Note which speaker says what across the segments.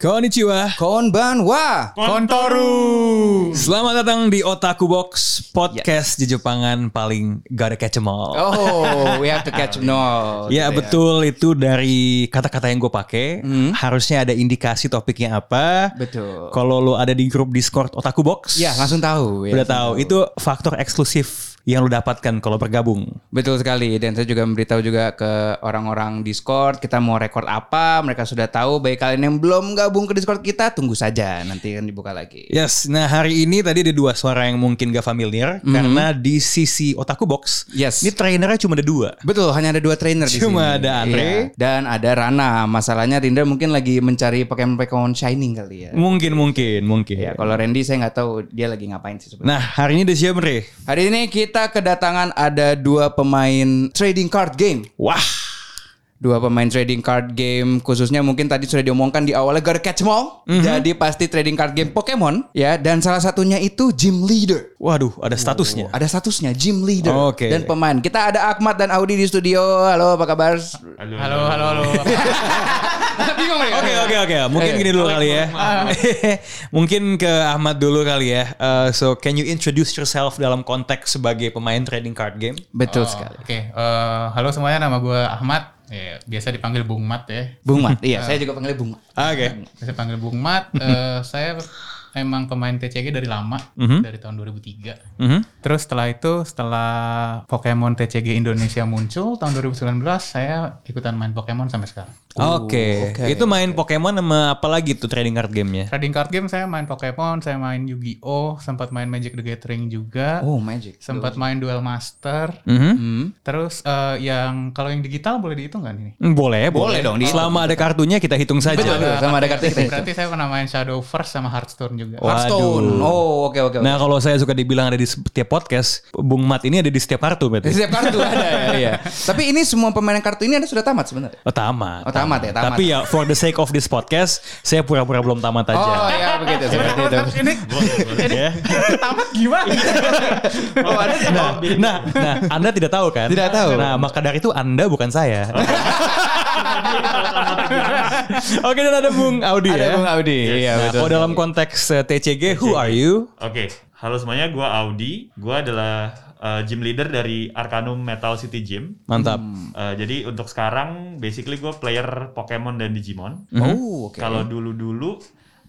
Speaker 1: Konnichiwa.
Speaker 2: Konbanwa.
Speaker 3: Kontoru.
Speaker 1: Selamat datang di Otaku Box, podcast Jejepangan paling gak ada catch em all.
Speaker 2: Oh, we have to catch Gitu no. Oh,
Speaker 1: Ya betul itu dari kata-kata yang gue pakai harusnya ada indikasi topiknya apa.
Speaker 2: Betul.
Speaker 1: Uh-uh. Kalau lo ada di grup Discord Otaku Box,
Speaker 2: Ya, langsung tahu. ya.
Speaker 1: udah tahu itu faktor eksklusif yang lo dapatkan kalau bergabung.
Speaker 2: Betul sekali. Dan saya juga memberitahu juga ke orang-orang Discord kita mau record apa. Mereka sudah tahu. Baik kalian yang belum gabung ke Discord kita, tunggu saja. Nanti kan dibuka lagi.
Speaker 1: Yes, nah hari ini tadi ada dua suara yang mungkin gak familiar karena di sisi Otaku Box,
Speaker 2: Yes.
Speaker 1: ini trainernya cuma ada dua.
Speaker 2: Betul, hanya ada dua trainer di sini.
Speaker 1: Cuma ada Andre.
Speaker 2: Iya. Dan ada Rana. Masalahnya Rinda mungkin lagi mencari Pokemon-Pokemon Shining kali ya.
Speaker 1: Mungkin, mungkin, mungkin.
Speaker 2: Ya, kalau Randy saya nggak tahu dia lagi ngapain sih
Speaker 1: Nah
Speaker 2: sebenarnya.
Speaker 1: hari ini udah siap Andre?
Speaker 2: Hari ini kita kedatangan ada dua pemain trading card game.
Speaker 1: Wah,
Speaker 2: dua pemain trading card game khususnya mungkin tadi sudah diomongkan di awalnya Gar Catch Them All.
Speaker 1: Mhm.
Speaker 2: Jadi pasti trading card game Pokemon ya dan salah satunya itu gym leader.
Speaker 1: waduh ada statusnya.
Speaker 2: Ada statusnya gym leader
Speaker 1: Oke.
Speaker 2: dan pemain. Kita ada Ahmad dan Audi di studio. Halo, apa kabar?
Speaker 3: Halo, halo, halo.
Speaker 2: Bingung mereka.
Speaker 1: Oke oke oke, mungkin gini dulu kali ya. mungkin ke Ahmad dulu kali ya. Uh, so can you introduce yourself dalam konteks sebagai pemain trading card game?
Speaker 2: Betul
Speaker 3: Oh,
Speaker 2: sekali.
Speaker 3: Oke, eh, halo semuanya. Nama gue Ahmad. Ya, biasa dipanggil Bung Mat ya.
Speaker 2: Bung Mat. Iya, saya juga panggilnya Bung Mat.
Speaker 1: Oke.
Speaker 3: Biasa panggil Bung Mat. Eh, saya emang pemain TCG dari lama, dari tahun 2003.
Speaker 1: Mhm.
Speaker 3: Mhm. Terus setelah itu, setelah Pokemon TCG Indonesia muncul tahun 2019, saya ikutan main Pokemon sampai sekarang.
Speaker 1: Oke. Itu main Pokemon sama apa lagi tuh trading card gamenya?
Speaker 3: Trading card game saya main Pokemon, saya main Yu-Gi-Oh, sempat main Magic the Gathering juga,
Speaker 2: Oh, Magic.
Speaker 3: sempat main Duel Master.
Speaker 1: Mhm.
Speaker 2: Hmm.
Speaker 3: Terus eh, yang kalau yang digital boleh dihitung kan ini?
Speaker 1: Mm, Boleh, boleh.
Speaker 2: dong, dihitung.
Speaker 1: Selama ada kartunya kita hitung saja.
Speaker 2: Betul, sama ada kartu kita.
Speaker 3: Berarti saya pernah main Shadowverse sama Hearthstone juga.
Speaker 1: Waduh.
Speaker 2: Hearthstone. Oh, oke oke. oke.
Speaker 1: Nah kalau saya suka dibilang ada di setiap podcast, Bung Mat ini ada di setiap kartu
Speaker 2: Di
Speaker 1: berarti.
Speaker 2: setiap kartu ada ya. iya. Tapi ini semua pemain kartu ini ada sudah tamat sebenarnya.
Speaker 1: Oh, tamat.
Speaker 2: Oh, tamat ya, tamat.
Speaker 1: Tapi ya for the sake of this podcast, saya pura-pura belum tamat aja.
Speaker 2: Oh ya begitu seperti itu.
Speaker 3: ini
Speaker 1: Ya.
Speaker 3: tamat gimana?
Speaker 2: Oh, ada
Speaker 1: Nah, nah, nah, Anda tidak tahu Oh. kan?
Speaker 2: Tidak tahu.
Speaker 1: Nah, maka dari itu Anda bukan saya. Oke, dan ada Bung Audi
Speaker 2: Ada
Speaker 1: ya.
Speaker 2: Bung Audi. Iya,
Speaker 1: Nah,
Speaker 2: betul.
Speaker 1: kalau dalam konteks eh, TCG, who are you?
Speaker 4: Oke, halo semuanya. Gua Audi. Gua adalah uh, gym leader dari Arcanum Metal City Gym.
Speaker 1: Mantap.
Speaker 2: Hmm.
Speaker 4: Uh, jadi untuk sekarang, basically gue player Pokemon dan Digimon.
Speaker 2: Oh, oke.
Speaker 4: Kalau dulu-dulu,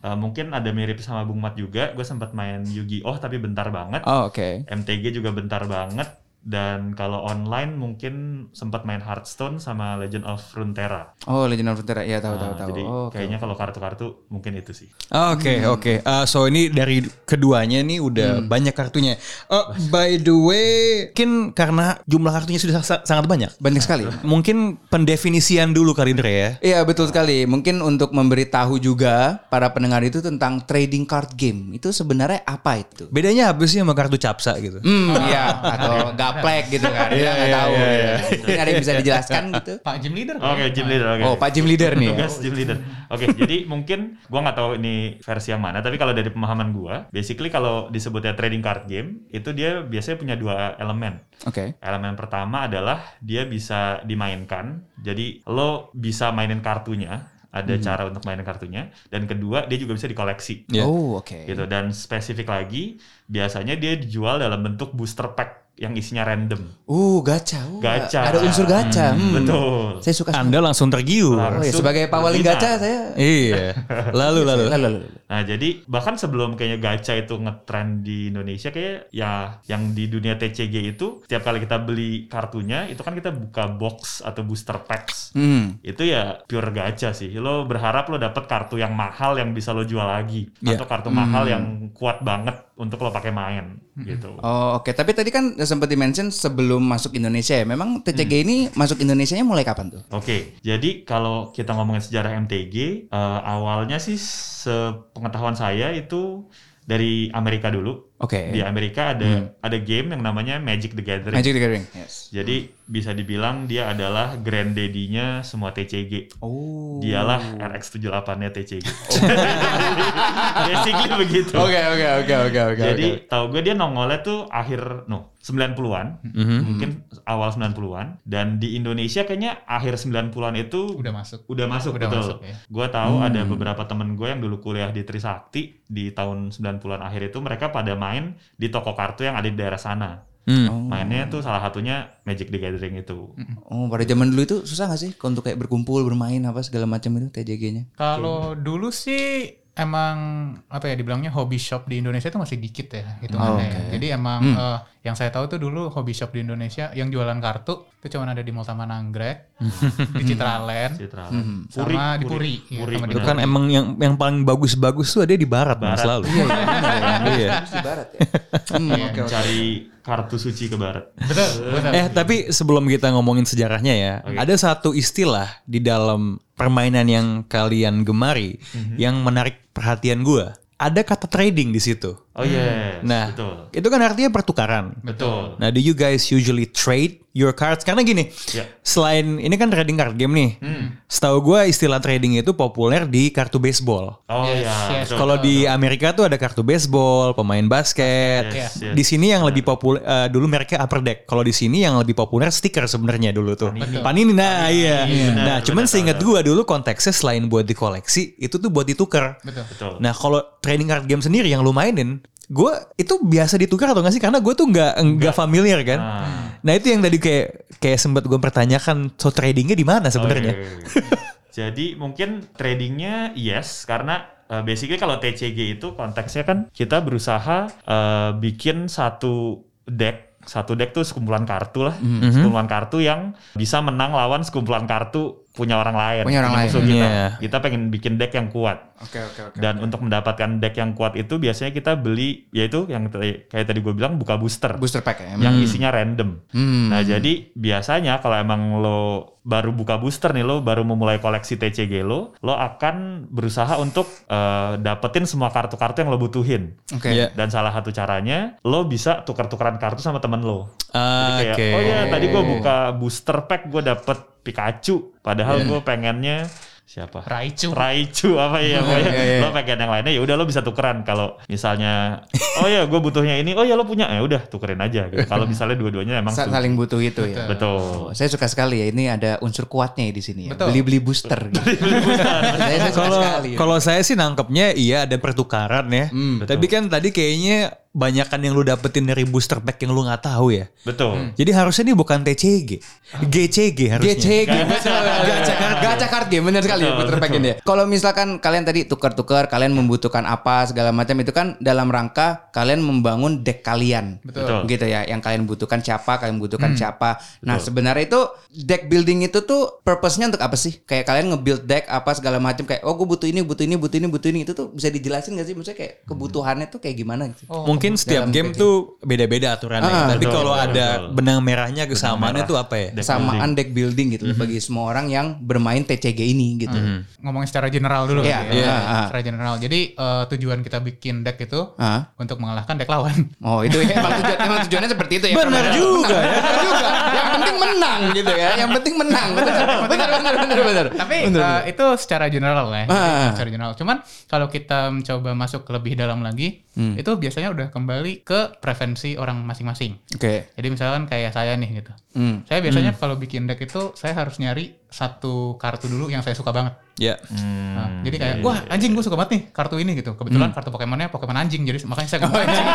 Speaker 4: uh, mungkin ada mirip sama Bung Mat juga. Gue sempat main Yu-Gi-Oh tapi bentar banget.
Speaker 2: Oh, oke.
Speaker 4: MTG juga bentar banget. Dan kalau online mungkin sempat main Hearthstone sama Legend of Runeterra.
Speaker 2: Oh, Legend of Frontera. Ya, tahu tahu
Speaker 4: Nah,
Speaker 2: tahu.
Speaker 4: jadi
Speaker 2: Oh, oke.
Speaker 4: kayaknya kalau kartu-kartu mungkin itu sih.
Speaker 1: Oke, oke. Eh, so ini dari keduanya nih udah banyak kartunya. Eh, by the way, mungkin karena jumlah kartunya sudah sa- sangat banyak.
Speaker 2: Banyak sekali.
Speaker 1: Mungkin pendefinisian dulu kali Indra ya.
Speaker 2: Iya, betul sekali. Mungkin untuk memberitahu juga para pendengar itu tentang trading card game. Itu sebenarnya apa itu?
Speaker 1: Bedanya apa sih sama kartu capsa gitu?
Speaker 2: Hmm, iya, atau gaplek gitu kan. Iya, enggak tahu. Mungkin ada yang bisa dijelaskan gitu.
Speaker 3: Pak Gym Leader.
Speaker 4: Oke, gym leader. oke.
Speaker 2: Oh, iya. Pak Gym Leader nih.
Speaker 4: Tugas gym leader. Oke, jadi mungkin gua nggak tahu ini versi yang mana, tapi kalau dari pemahaman gua, basically kalau disebutnya trading card game, itu dia biasanya punya dua elemen.
Speaker 2: Oke.
Speaker 4: Elemen pertama adalah dia bisa dimainkan. Jadi lo bisa mainin kartunya, ada
Speaker 2: Mhm.
Speaker 4: cara untuk mainin kartunya. Dan kedua, dia juga bisa dikoleksi.
Speaker 1: Iya.
Speaker 2: Oh, oke.
Speaker 4: Gitu dan spesifik lagi, biasanya dia dijual dalam bentuk booster pack yang isinya random.
Speaker 2: Uh, gacha. Uh,
Speaker 4: Gacha.
Speaker 2: Ada unsur gacha. Hmm. Kan.
Speaker 4: Betul.
Speaker 2: Saya suka.
Speaker 1: Anda langsung tergiur.
Speaker 2: Oh, ya, sebagai pawaling
Speaker 4: Berminat.
Speaker 2: gacha saya.
Speaker 1: Iya. Lalu lalu.
Speaker 2: Lalu, lalu.
Speaker 4: Nah, jadi bahkan sebelum kayaknya gacha itu ngetrend di Indonesia kayak ya yang di dunia TCG itu setiap kali kita beli kartunya itu kan kita buka box atau booster packs.
Speaker 2: Hmm.
Speaker 4: Itu ya pure gacha sih. Lo berharap lo dapet kartu yang mahal yang bisa lo jual lagi
Speaker 1: Iya.
Speaker 4: atau kartu mahal yang kuat banget untuk lo pakai main gitu.
Speaker 2: Oh oke, tapi tadi kan sempat dimention sebelum masuk Indonesia ya. Memang TCG ini masuk Indonesianya mulai kapan tuh?
Speaker 4: Oke, jadi kalau kita ngomongin sejarah MTG, eh, awalnya sih sepengetahuan saya itu dari Amerika dulu.
Speaker 2: Oke. Hmm.
Speaker 4: Di Amerika ada ada game yang namanya Magic the Gathering.
Speaker 2: Magic the Gathering. Yes.
Speaker 4: Jadi bisa dibilang dia adalah granddaddy-nya semua TCG.
Speaker 2: Oh.
Speaker 4: Dialah RX78-nya TCG. Basically begitu.
Speaker 2: Oke oke oke oke oke.
Speaker 4: Jadi tahu gue dia nongolnya tuh akhir no 90-an,
Speaker 2: Mm-hmm.
Speaker 4: mungkin awal 90-an dan di Indonesia kayaknya akhir 90-an itu
Speaker 3: Udah masuk.
Speaker 4: udah masuk
Speaker 3: Udah
Speaker 4: betul.
Speaker 3: masuk, ya.
Speaker 4: Gue tahu ada beberapa temen gue yang dulu kuliah di Trisakti di tahun 90-an akhir itu mereka pada main di toko kartu yang ada di daerah sana.
Speaker 1: Hmm.
Speaker 3: Oh.
Speaker 4: Mainnya tuh salah satunya Magic the Gathering itu.
Speaker 2: Oh pada zaman dulu itu susah gak sih untuk kayak berkumpul bermain apa segala macam itu TJG-nya?
Speaker 3: Kalau dulu sih emang apa ya dibilangnya hobi shop di Indonesia itu masih dikit ya hitungannya. ya. Jadi emang
Speaker 2: Hmm.
Speaker 3: eh, yang saya tahu tuh dulu hobi shop di Indonesia yang jualan kartu itu cuma ada di Mall Taman Anggrek,
Speaker 2: Hmm.
Speaker 3: di Citraland,
Speaker 4: Citra.
Speaker 3: sama di Puri. Iya,
Speaker 4: Puri,
Speaker 3: sama di
Speaker 1: Itu
Speaker 4: benar.
Speaker 1: kan emang yang yang paling bagus-bagus tuh ada di barat, Mas,
Speaker 4: Barat.
Speaker 1: selalu. Iya.
Speaker 2: Di barat ya. Hmm, oke oke.
Speaker 4: Cari kartu suci ke barat.
Speaker 3: Betul, betul.
Speaker 1: Eh tapi sebelum kita ngomongin sejarahnya ya, ada satu istilah di dalam permainan yang kalian gemari yang menarik perhatian gua. Ada kata trading di situ.
Speaker 4: Oh yes,
Speaker 1: Nah,
Speaker 4: betul.
Speaker 1: itu kan artinya pertukaran.
Speaker 4: Betul.
Speaker 1: Nah, do you guys usually trade your cards? Karena gini,
Speaker 4: Ya. Hmm.
Speaker 1: selain ini kan trading card game nih. Setahu gua istilah trading itu populer di kartu baseball.
Speaker 4: Oh
Speaker 3: Yes,
Speaker 4: ya,
Speaker 3: yes.
Speaker 4: betul.
Speaker 1: Kalau di Amerika tuh ada kartu baseball, pemain basket.
Speaker 4: Yes, yes.
Speaker 1: Di sini yang lebih populer eh, dulu mereknya Upper Deck. Kalau di sini yang lebih populer stiker sebenarnya dulu tuh. Panini. nah iya.
Speaker 4: benar,
Speaker 1: nah, cuman
Speaker 4: benar,
Speaker 1: seingat gua
Speaker 4: benar.
Speaker 1: dulu konteksnya selain buat dikoleksi, itu tuh buat ditukar.
Speaker 3: Betul.
Speaker 4: betul.
Speaker 1: Nah, kalau trading card game sendiri yang lu mainin, gue itu biasa ditukar atau nggak sih? Karena gue tuh nggak nggak familiar kan.
Speaker 4: Ah.
Speaker 1: Nah itu yang tadi kayak kayak sempat gue pertanyakan, so tradingnya di mana
Speaker 2: ya?
Speaker 1: sebenarnya?
Speaker 4: Oke. Jadi mungkin tradingnya yes karena uh, basically kalau TCG itu konteksnya kan kita berusaha uh, bikin satu deck satu deck tuh sekumpulan kartu lah
Speaker 2: Mm-hmm.
Speaker 4: sekumpulan kartu yang bisa menang lawan sekumpulan kartu punya orang lain
Speaker 2: Punya orang
Speaker 4: musuh
Speaker 1: lain.
Speaker 4: kita
Speaker 1: Iya.
Speaker 4: kita pengen bikin deck yang kuat
Speaker 2: Oke oke oke.
Speaker 4: dan untuk mendapatkan deck yang kuat itu biasanya kita beli yaitu yang tadi- kayak tadi gue bilang buka booster
Speaker 2: Booster pack ya.
Speaker 4: yang isinya random.
Speaker 2: Hmm.
Speaker 4: Nah, jadi biasanya kalau emang lo baru buka booster nih, lo baru memulai koleksi TCG lo, lo akan berusaha untuk eh, dapetin semua kartu-kartu yang lo butuhin.
Speaker 2: Oke.
Speaker 1: Iya.
Speaker 4: Dan salah satu caranya, lo bisa tuker-tukeran kartu sama temen lo.
Speaker 1: Ah,
Speaker 4: iya. Kayak,
Speaker 1: Oke.
Speaker 4: oh ya tadi gue buka booster pack, gue dapet Pikachu.
Speaker 2: Iya.
Speaker 4: Padahal gue pengennya siapa?
Speaker 3: Raichu.
Speaker 4: Raichu apa ya pokoknya
Speaker 2: Iya, iya.
Speaker 4: lo pengen yang lainnya ya udah lo bisa tukeran kalau misalnya oh ya gue butuhnya ini oh ya lo punya ya udah tukerin aja gitu kalau misalnya dua-duanya emang
Speaker 2: Sa-
Speaker 4: suka.
Speaker 2: Saling butuh itu ya. Oh,
Speaker 4: betul
Speaker 2: saya suka sekali ya ini ada unsur kuatnya di sini ya.
Speaker 3: Betul.
Speaker 2: Beli-beli booster. gitu. saya,
Speaker 1: Kalau
Speaker 2: saya suka Kan sekali. ya. Hmm,
Speaker 1: kalau saya sih nangkepnya iya ada pertukaran ya. Tapi kan tadi kayaknya banyakan yang lu dapetin dari booster pack yang lu nggak tahu ya.
Speaker 4: betul
Speaker 1: Jadi harusnya ini bukan TCG,
Speaker 4: Ah.
Speaker 1: GCG harusnya.
Speaker 2: GC game gacha card gacha card game benar sekali
Speaker 4: Betul,
Speaker 2: puter pack ini ya. Kalau misalkan kalian tadi tukar-tukar kalian membutuhkan apa segala macam itu kan dalam rangka kalian membangun deck kalian.
Speaker 4: Betul. Hmm.
Speaker 2: Gitu ya yang kalian butuhkan siapa kalian butuhkan siapa. Nah sebenarnya itu deck building itu tuh purpose-nya untuk apa sih? Kayak kalian nge-build deck apa segala macam kayak oh gue butuh ini butuh ini butuh ini butuh ini itu tuh bisa dijelasin gak sih maksudnya kayak kebutuhannya tuh kayak gimana gitu.
Speaker 3: Oh,
Speaker 1: Mungkin setiap
Speaker 2: dalam
Speaker 1: game
Speaker 2: trading.
Speaker 1: tuh beda-beda aturannya.
Speaker 2: Ah,
Speaker 1: Tapi
Speaker 4: betul,
Speaker 1: kalau
Speaker 4: betul,
Speaker 1: ada
Speaker 4: betul.
Speaker 1: benang merahnya kesamaannya
Speaker 4: merah.
Speaker 1: tuh apa ya?
Speaker 4: Deck
Speaker 2: Samaan deck building gitu bagi semua orang yang bermain TCG ini gitu.
Speaker 3: ngomongin secara general dulu
Speaker 2: Iya,
Speaker 3: kali ya.
Speaker 2: iya.
Speaker 3: Secara general. Jadi eh, tujuan kita bikin deck itu
Speaker 2: Ah.
Speaker 3: untuk mengalahkan deck lawan.
Speaker 2: Oh itu ya, emang, tujuan- emang tujuannya seperti itu ya.
Speaker 1: Benar
Speaker 2: Permainan.
Speaker 1: juga
Speaker 2: Benar, benar juga. Yang penting menang gitu ya. Yang penting menang. Benar benar benar benar. benar.
Speaker 3: Tapi eh, itu secara general lah ya.
Speaker 2: Ah.
Speaker 3: Secara general. Cuman kalau kita mencoba masuk ke lebih dalam lagi,
Speaker 2: Hmm.
Speaker 3: itu biasanya udah kembali ke preferensi orang masing-masing.
Speaker 2: Oke.
Speaker 3: Jadi misalkan kayak saya nih gitu.
Speaker 2: Hmm.
Speaker 3: Saya biasanya kalau bikin deck itu saya harus nyari satu kartu dulu yang saya suka banget.
Speaker 1: Ya.
Speaker 4: Hmm.
Speaker 3: Nah, jadi kayak wah anjing gue suka banget nih kartu ini gitu.
Speaker 2: Hmm.
Speaker 3: Kebetulan kartu Pokemonnya Pokemon anjing jadi makanya saya
Speaker 2: Oh,
Speaker 3: suka
Speaker 2: iya.
Speaker 3: anjing.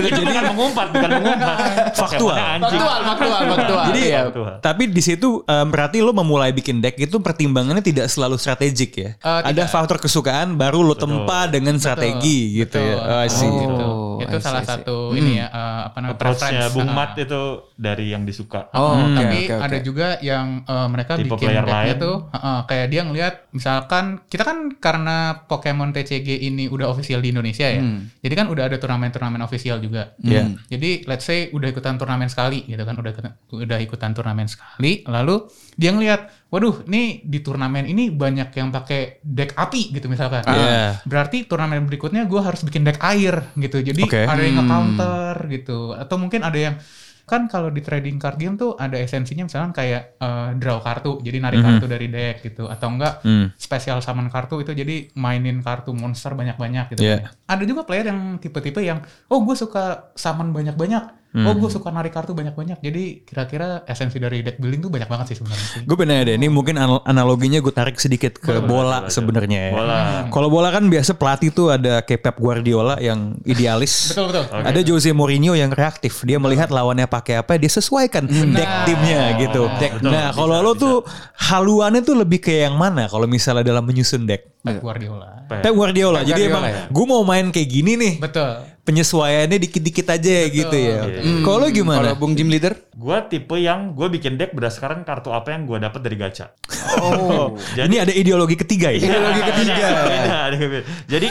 Speaker 4: jadi bukan mengumpat bukan mengumpat
Speaker 1: Faktual.
Speaker 4: Pokemon anjing
Speaker 2: Faktual, faktual, faktual.
Speaker 1: Jadi eh,
Speaker 2: Iya.
Speaker 4: Faktual.
Speaker 1: tapi di situ em, berarti lo memulai bikin deck itu pertimbangannya tidak selalu strategik ya.
Speaker 3: Eh,
Speaker 1: ada faktor kesukaan baru lo tempa dengan strategi gitu ya. Oh, I see. Hmm.
Speaker 3: Betul.
Speaker 2: Gitu.
Speaker 3: itu
Speaker 2: I see,
Speaker 3: salah
Speaker 2: I see.
Speaker 3: satu ini ya eh, apa namanya
Speaker 4: Approach-nya
Speaker 3: preference.
Speaker 4: Bung
Speaker 3: Ah.
Speaker 4: Mat itu dari yang disuka
Speaker 2: Oh, oke,
Speaker 3: Hmm. tapi
Speaker 2: oke, oke.
Speaker 3: ada juga yang eh, mereka
Speaker 4: Tipe
Speaker 3: bikin
Speaker 4: player
Speaker 3: decknya
Speaker 4: lain.
Speaker 3: tuh eh, kayak dia ngelihat misalkan kita kan karena Pokemon TCG ini udah official di Indonesia ya.
Speaker 2: Hmm.
Speaker 3: Jadi kan udah ada turnamen-turnamen official juga.
Speaker 1: Iya.
Speaker 3: Jadi let's say udah ikutan turnamen sekali gitu kan udah ikutan- udah ikutan turnamen sekali lalu dia ngelihat waduh, nih di turnamen ini banyak yang pakai deck api gitu misalkan.
Speaker 1: Iya.
Speaker 3: Berarti turnamen berikutnya gue harus bikin deck air gitu. Jadi
Speaker 1: Oke.
Speaker 3: ada yang nge-counter gitu. Atau mungkin ada yang kan kalau di trading card game tuh ada esensinya misalkan kayak eh, draw kartu. Jadi narik kartu dari deck gitu. Atau enggak
Speaker 1: Hmm.
Speaker 3: spesial summon kartu itu jadi mainin kartu monster banyak-banyak gitu.
Speaker 1: Iya.
Speaker 3: Ada juga player yang tipe-tipe yang oh gue suka summon banyak-banyak. Oh gue suka narik kartu banyak-banyak. Jadi kira-kira esensi dari deck building tuh banyak banget sih sebenarnya sih.
Speaker 1: Gue bener deh, ini mungkin anal- analoginya gue tarik sedikit ke bola sebenarnya ya.
Speaker 4: Bola.
Speaker 1: Kalau bola kan biasa pelatih tuh ada kayak Pep Guardiola yang idealis.
Speaker 3: Betul betul.
Speaker 1: Ada Jose Mourinho yang reaktif. Dia melihat lawannya pakai apa, dia sesuaikan deck timnya gitu.
Speaker 4: Deck. Betul,
Speaker 1: nah,
Speaker 4: bisa,
Speaker 1: kalau lo tuh haluannya tuh lebih ke yang mana kalau misalnya dalam menyusun deck?
Speaker 3: Pep Guardiola.
Speaker 4: ya?
Speaker 1: Pep Guardiola.
Speaker 2: Pep
Speaker 1: Jadi
Speaker 2: Guardiola
Speaker 1: emang
Speaker 2: ya?
Speaker 1: gue mau main kayak gini nih.
Speaker 3: Betul.
Speaker 1: Penyesuaiannya dikit-dikit aja gitu ya.
Speaker 2: Hmm,
Speaker 1: Kalau lo gimana?
Speaker 2: Kalau Bung Jim Leader?
Speaker 4: Gue tipe yang gue bikin deck berdasarkan kartu apa yang gue dapat dari gacha.
Speaker 2: Oh.
Speaker 1: Ini ada ideologi ketiga ya.
Speaker 2: Ideologi ketiga.
Speaker 4: Beda, ada kebe- Jadi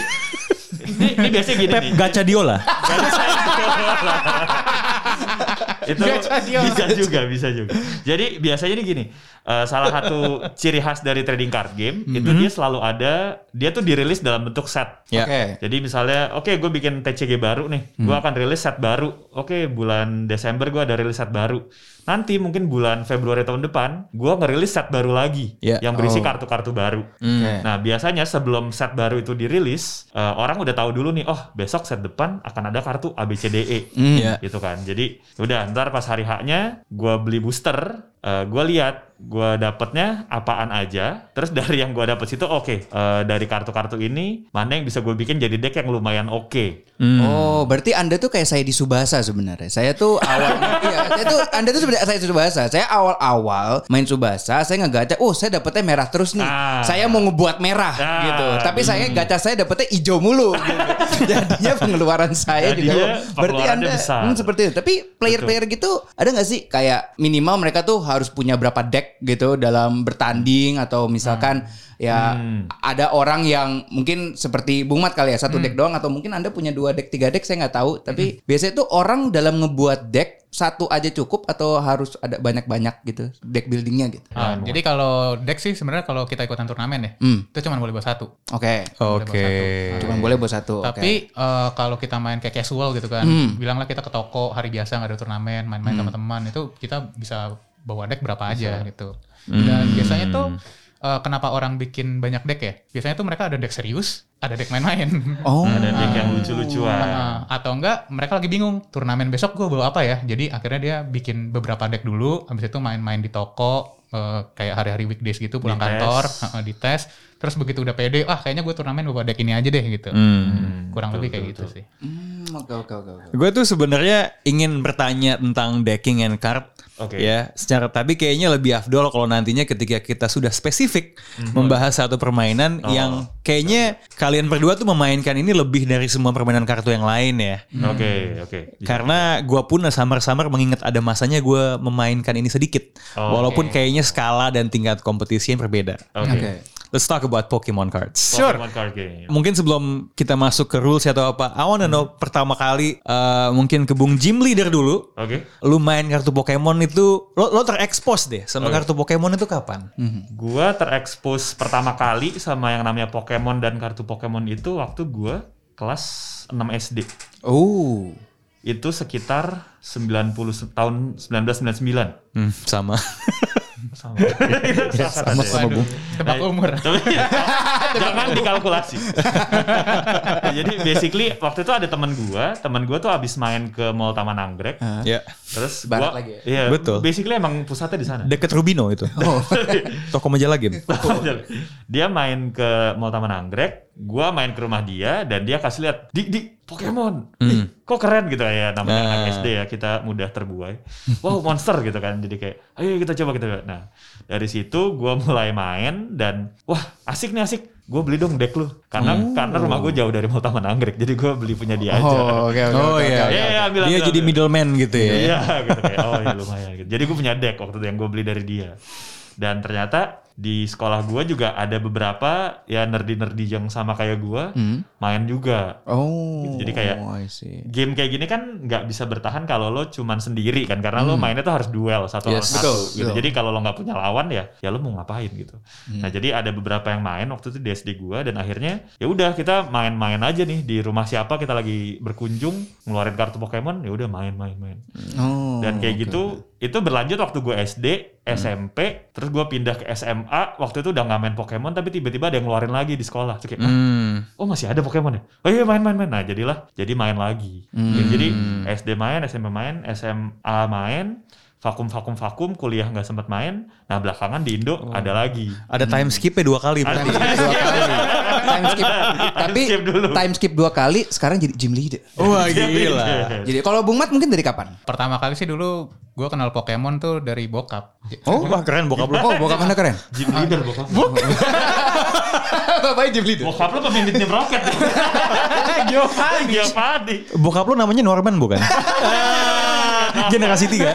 Speaker 4: ini, ini biasanya gini
Speaker 1: Pep
Speaker 4: nih.
Speaker 1: Gacha Diola.
Speaker 4: itu bisa juga bisa juga jadi biasanya ini gini eh, salah satu ciri khas dari trading card game itu dia selalu ada dia tuh dirilis dalam bentuk set
Speaker 1: Ya.
Speaker 2: Oke.
Speaker 4: jadi misalnya oke gue bikin TCG baru nih gue akan rilis set baru oke bulan Desember gue ada rilis set baru nanti mungkin bulan Februari tahun depan gue ngerilis set baru lagi
Speaker 1: Ya.
Speaker 4: yang berisi
Speaker 2: Oh.
Speaker 4: kartu-kartu baru
Speaker 2: Oke.
Speaker 4: Nah, biasanya sebelum set baru itu dirilis, eh, orang udah tahu dulu nih, oh besok set depan akan ada kartu ABCDE.
Speaker 2: Hmm.
Speaker 1: Iya.
Speaker 4: Gitu kan. Jadi, udah ntar pas hari haknya, gue beli booster, eh, gue lihat gue dapetnya apaan aja. Terus dari yang gue dapet situ, oke, eh, dari kartu-kartu ini, mana yang bisa gue bikin jadi deck yang lumayan oke. Hmm.
Speaker 2: Oh, berarti Anda tuh kayak saya di Subasa sebenarnya. Saya tuh awal iya, saya tuh Anda tuh sebenarnya saya di Subasa. Saya awal-awal main Subasa, saya ngegaca, oh saya dapetnya merah terus nih.
Speaker 4: Ah.
Speaker 2: Saya mau ngebuat merah
Speaker 4: Ah.
Speaker 2: gitu. Tapi saya gacha saya dapetnya hijau mulu gitu. Jadinya pengeluaran saya
Speaker 4: Jadinya
Speaker 2: juga berarti
Speaker 4: pengeluarannya
Speaker 2: Anda
Speaker 4: besar.
Speaker 2: hmm, seperti itu. Tapi player-player gitu ada nggak sih kayak minimal mereka tuh harus punya berapa deck gitu dalam bertanding atau misalkan ya
Speaker 4: Hmm.
Speaker 2: ada orang yang mungkin seperti Bung Mat kali ya satu deck doang atau mungkin anda punya dua deck tiga deck saya nggak tahu tapi biasanya tuh orang dalam ngebuat deck satu aja cukup atau harus ada banyak banyak gitu deck buildingnya gitu
Speaker 3: Ah, jadi kalau deck sih sebenarnya kalau kita ikutan turnamen ya,
Speaker 2: Hmm.
Speaker 3: itu cuma boleh buat satu.
Speaker 2: oke
Speaker 1: Oke.
Speaker 2: cuma boleh buat satu oke.
Speaker 3: Tapi eh, kalau kita main kayak casual gitu kan, bilanglah kita ke toko hari biasa nggak ada turnamen, main-main teman-teman itu kita bisa bawa deck berapa aja gitu. Dan biasanya tuh eh, kenapa orang bikin banyak deck ya? Biasanya tuh mereka ada deck serius, ada deck main-main.
Speaker 2: oh
Speaker 4: Ada deck yang lucu-lucuan.
Speaker 3: Nah, atau enggak mereka lagi bingung turnamen besok gue bawa apa ya jadi akhirnya dia bikin beberapa deck dulu habis itu main-main di toko eh, kayak hari-hari weekdays gitu pulang
Speaker 4: Dites.
Speaker 3: kantor eh, dites terus begitu udah pede ah kayaknya gue turnamen bawa deck ini aja deh gitu kurang lebih kayak gitu sih
Speaker 2: Hmm, oke oke oke oke.
Speaker 1: Gue tuh sebenarnya ingin bertanya tentang decking and card.
Speaker 4: Oke.
Speaker 1: Ya, secara tapi kayaknya lebih afdol kalau nantinya ketika kita sudah spesifik membahas satu permainan yang kayaknya kalian berdua tuh memainkan ini lebih dari semua permainan kartu yang lain ya.
Speaker 4: Oke, oke.
Speaker 1: Iya. Karena gue pun samar-samar mengingat ada masanya gue memainkan ini sedikit.
Speaker 4: Oh,
Speaker 1: walaupun kayaknya skala dan tingkat kompetisi yang berbeda.
Speaker 4: Oke.
Speaker 1: Let's talk about Pokemon cards.
Speaker 4: Pokemon card game.
Speaker 1: Mungkin sebelum kita masuk ke rules atau apa, I wanna know pertama kali eh, mungkin ke Bung Gym Leader dulu.
Speaker 4: Oke.
Speaker 1: Lu main kartu Pokemon itu, lo, lo terekspos deh
Speaker 4: Oh, iya.
Speaker 1: sama kartu Pokemon itu kapan?
Speaker 4: Gua terekspos pertama kali sama yang namanya Pokemon dan kartu Pokemon itu waktu gua kelas 6 SD.
Speaker 2: oh
Speaker 4: Itu sekitar 90 se- tahun 1999.
Speaker 1: Hmm, sama.
Speaker 4: Sama. Itu seangkatan ya.
Speaker 3: Waduh, tebak
Speaker 4: Nah,
Speaker 3: umur
Speaker 4: tapi- jangan dikalkulasi. Nah, Jadi basically waktu itu ada teman gua, teman gua tuh abis main ke Mall Taman Anggrek.
Speaker 1: ya.
Speaker 4: Terus
Speaker 2: Barat
Speaker 4: gua
Speaker 2: lagi ya?
Speaker 4: Iya,
Speaker 1: Betul.
Speaker 4: Basically emang pusatnya di sana.
Speaker 1: Deket Rubino itu. Toko majalah game.
Speaker 4: dia main ke Mall Taman Anggrek, gua main ke rumah dia dan dia kasih lihat, "Di, di Pokemon. Ih, kok keren gitu ya namanya anak
Speaker 1: Nah.
Speaker 4: SD ya, kita mudah terbuai. Wow, monster gitu kan. Jadi kayak, "Ayo kita coba kita." coba." Nah, dari situ gua mulai main dan wah, asik nih asik. Gue beli dong deck lu. Karena karena rumah gue jauh dari Mall Taman Anggrek, jadi gua beli punya dia aja.
Speaker 2: oh oke oke
Speaker 1: Oh, iya.
Speaker 2: oke, oke,
Speaker 4: Iya,
Speaker 2: oke.
Speaker 4: iya, ambil,
Speaker 1: Dia
Speaker 4: ambil,
Speaker 1: jadi
Speaker 4: ambil.
Speaker 1: middleman gitu
Speaker 2: Iya.
Speaker 1: ya.
Speaker 4: Iya gitu kayak oh ya lumayan gitu. Jadi gue punya deck waktu itu yang gue beli dari dia. Dan ternyata di sekolah gua juga ada beberapa ya nerdi-nerdi yang sama kayak gua
Speaker 2: Hmm.
Speaker 4: main juga.
Speaker 2: Oh.
Speaker 4: Jadi kayak-
Speaker 2: oh, I see.
Speaker 4: Game kayak gini kan nggak bisa bertahan kalau lo cuman sendiri kan karena lo mainnya tuh harus duel satu lawan
Speaker 2: Hmm. Yes.
Speaker 4: satu
Speaker 2: Betul,
Speaker 4: gitu.
Speaker 2: betul. Hmm.
Speaker 4: Jadi kalau lo nggak punya lawan ya ya lo mau ngapain gitu. Nah, jadi ada beberapa yang main waktu itu di SD gua dan akhirnya ya udah kita main-main aja nih di rumah siapa kita lagi berkunjung ngeluarin kartu Pokemon ya udah main-main main.
Speaker 2: Oh,
Speaker 4: Dan kayak
Speaker 2: oke,
Speaker 4: gitu
Speaker 2: oke.
Speaker 4: itu berlanjut waktu gue SD, SMP, terus gue pindah ke SMA. Waktu itu udah nggak main Pokemon, tapi tiba-tiba ada yang ngeluarin lagi di sekolah. Terus kayak,
Speaker 1: Hmm.
Speaker 4: oh masih ada Pokemon ya? Oh iya main main main. Nah jadilah, jadi main lagi. Ya, Jadi SD main, SMP main, SMA main, vakum vakum vakum, kuliah nggak sempat main. Nah belakangan di Indo ada lagi.
Speaker 1: Ada time Hmm. skipnya dua kali
Speaker 4: Ada
Speaker 1: berarti.
Speaker 2: Dua kali. time skip. Tapi
Speaker 4: skip dulu.
Speaker 2: time skip dua kali sekarang jadi gym leader.
Speaker 1: Wah Oh, gila.
Speaker 2: Jadi kalau Bung Mat mungkin dari kapan?
Speaker 3: Pertama kali sih dulu gue kenal Pokemon tuh dari bokap.
Speaker 1: Oh, wah keren bokap lu.
Speaker 2: Oh, bokap Anda keren.
Speaker 4: Gym leader bokap. Bokap,
Speaker 2: Bapaknya gym leader.
Speaker 4: bokap lo pemimpin tim roket. Giovanni. Giovanni.
Speaker 1: Bokap lu namanya Norman bukan? Generasi tiga.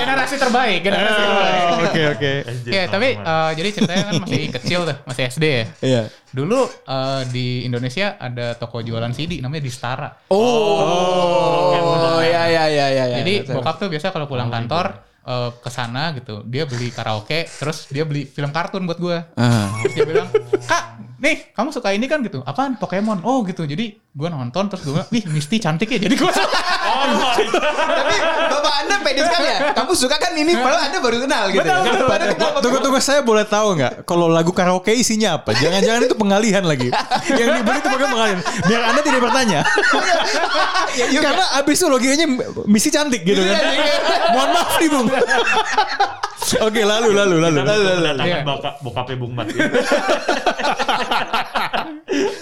Speaker 3: generasi terbaik, generasi terbaik.
Speaker 1: Ah. Oke oke.
Speaker 4: SD
Speaker 3: Oke, tapi
Speaker 4: sama-sama.
Speaker 3: eh, jadi ceritanya kan masih kecil tuh, masih SD ya.
Speaker 1: Iya.
Speaker 3: Dulu eh, di Indonesia ada toko jualan CD namanya Distara.
Speaker 2: Oh, ya ya ya ya.
Speaker 1: Iya,
Speaker 2: ya.
Speaker 3: Jadi bokap tuh biasa kalau pulang kantor eh, ke sana gitu, dia beli karaoke, terus dia beli film kartun buat gua.
Speaker 2: Ah.
Speaker 3: Terus dia bilang, "Kak, nih, kamu suka ini kan gitu. Apaan? Pokemon." Oh, gitu. Jadi gua nonton terus gua bilang, "Wih, Misty cantik ya." Jadi gua suka.
Speaker 4: Oh my god.
Speaker 2: Tapi bapak Anda pede sekali ya. Kamu suka kan ini padahal Anda baru kenal gitu. ya. Padahal kenal Bapak-
Speaker 1: Tunggu tunggu saya boleh tahu nggak kalau lagu karaoke isinya apa? Jangan-jangan itu pengalihan lagi. Yang dibeli itu bukan pengalihan. Biar Anda tidak bertanya. Karena abis itu logikanya misi cantik gitu kan. Mohon maaf nih Bung. Oke lalu lalu lalu.
Speaker 4: Kedatangan
Speaker 3: Iya.
Speaker 4: bokap bokapnya Bung Mat.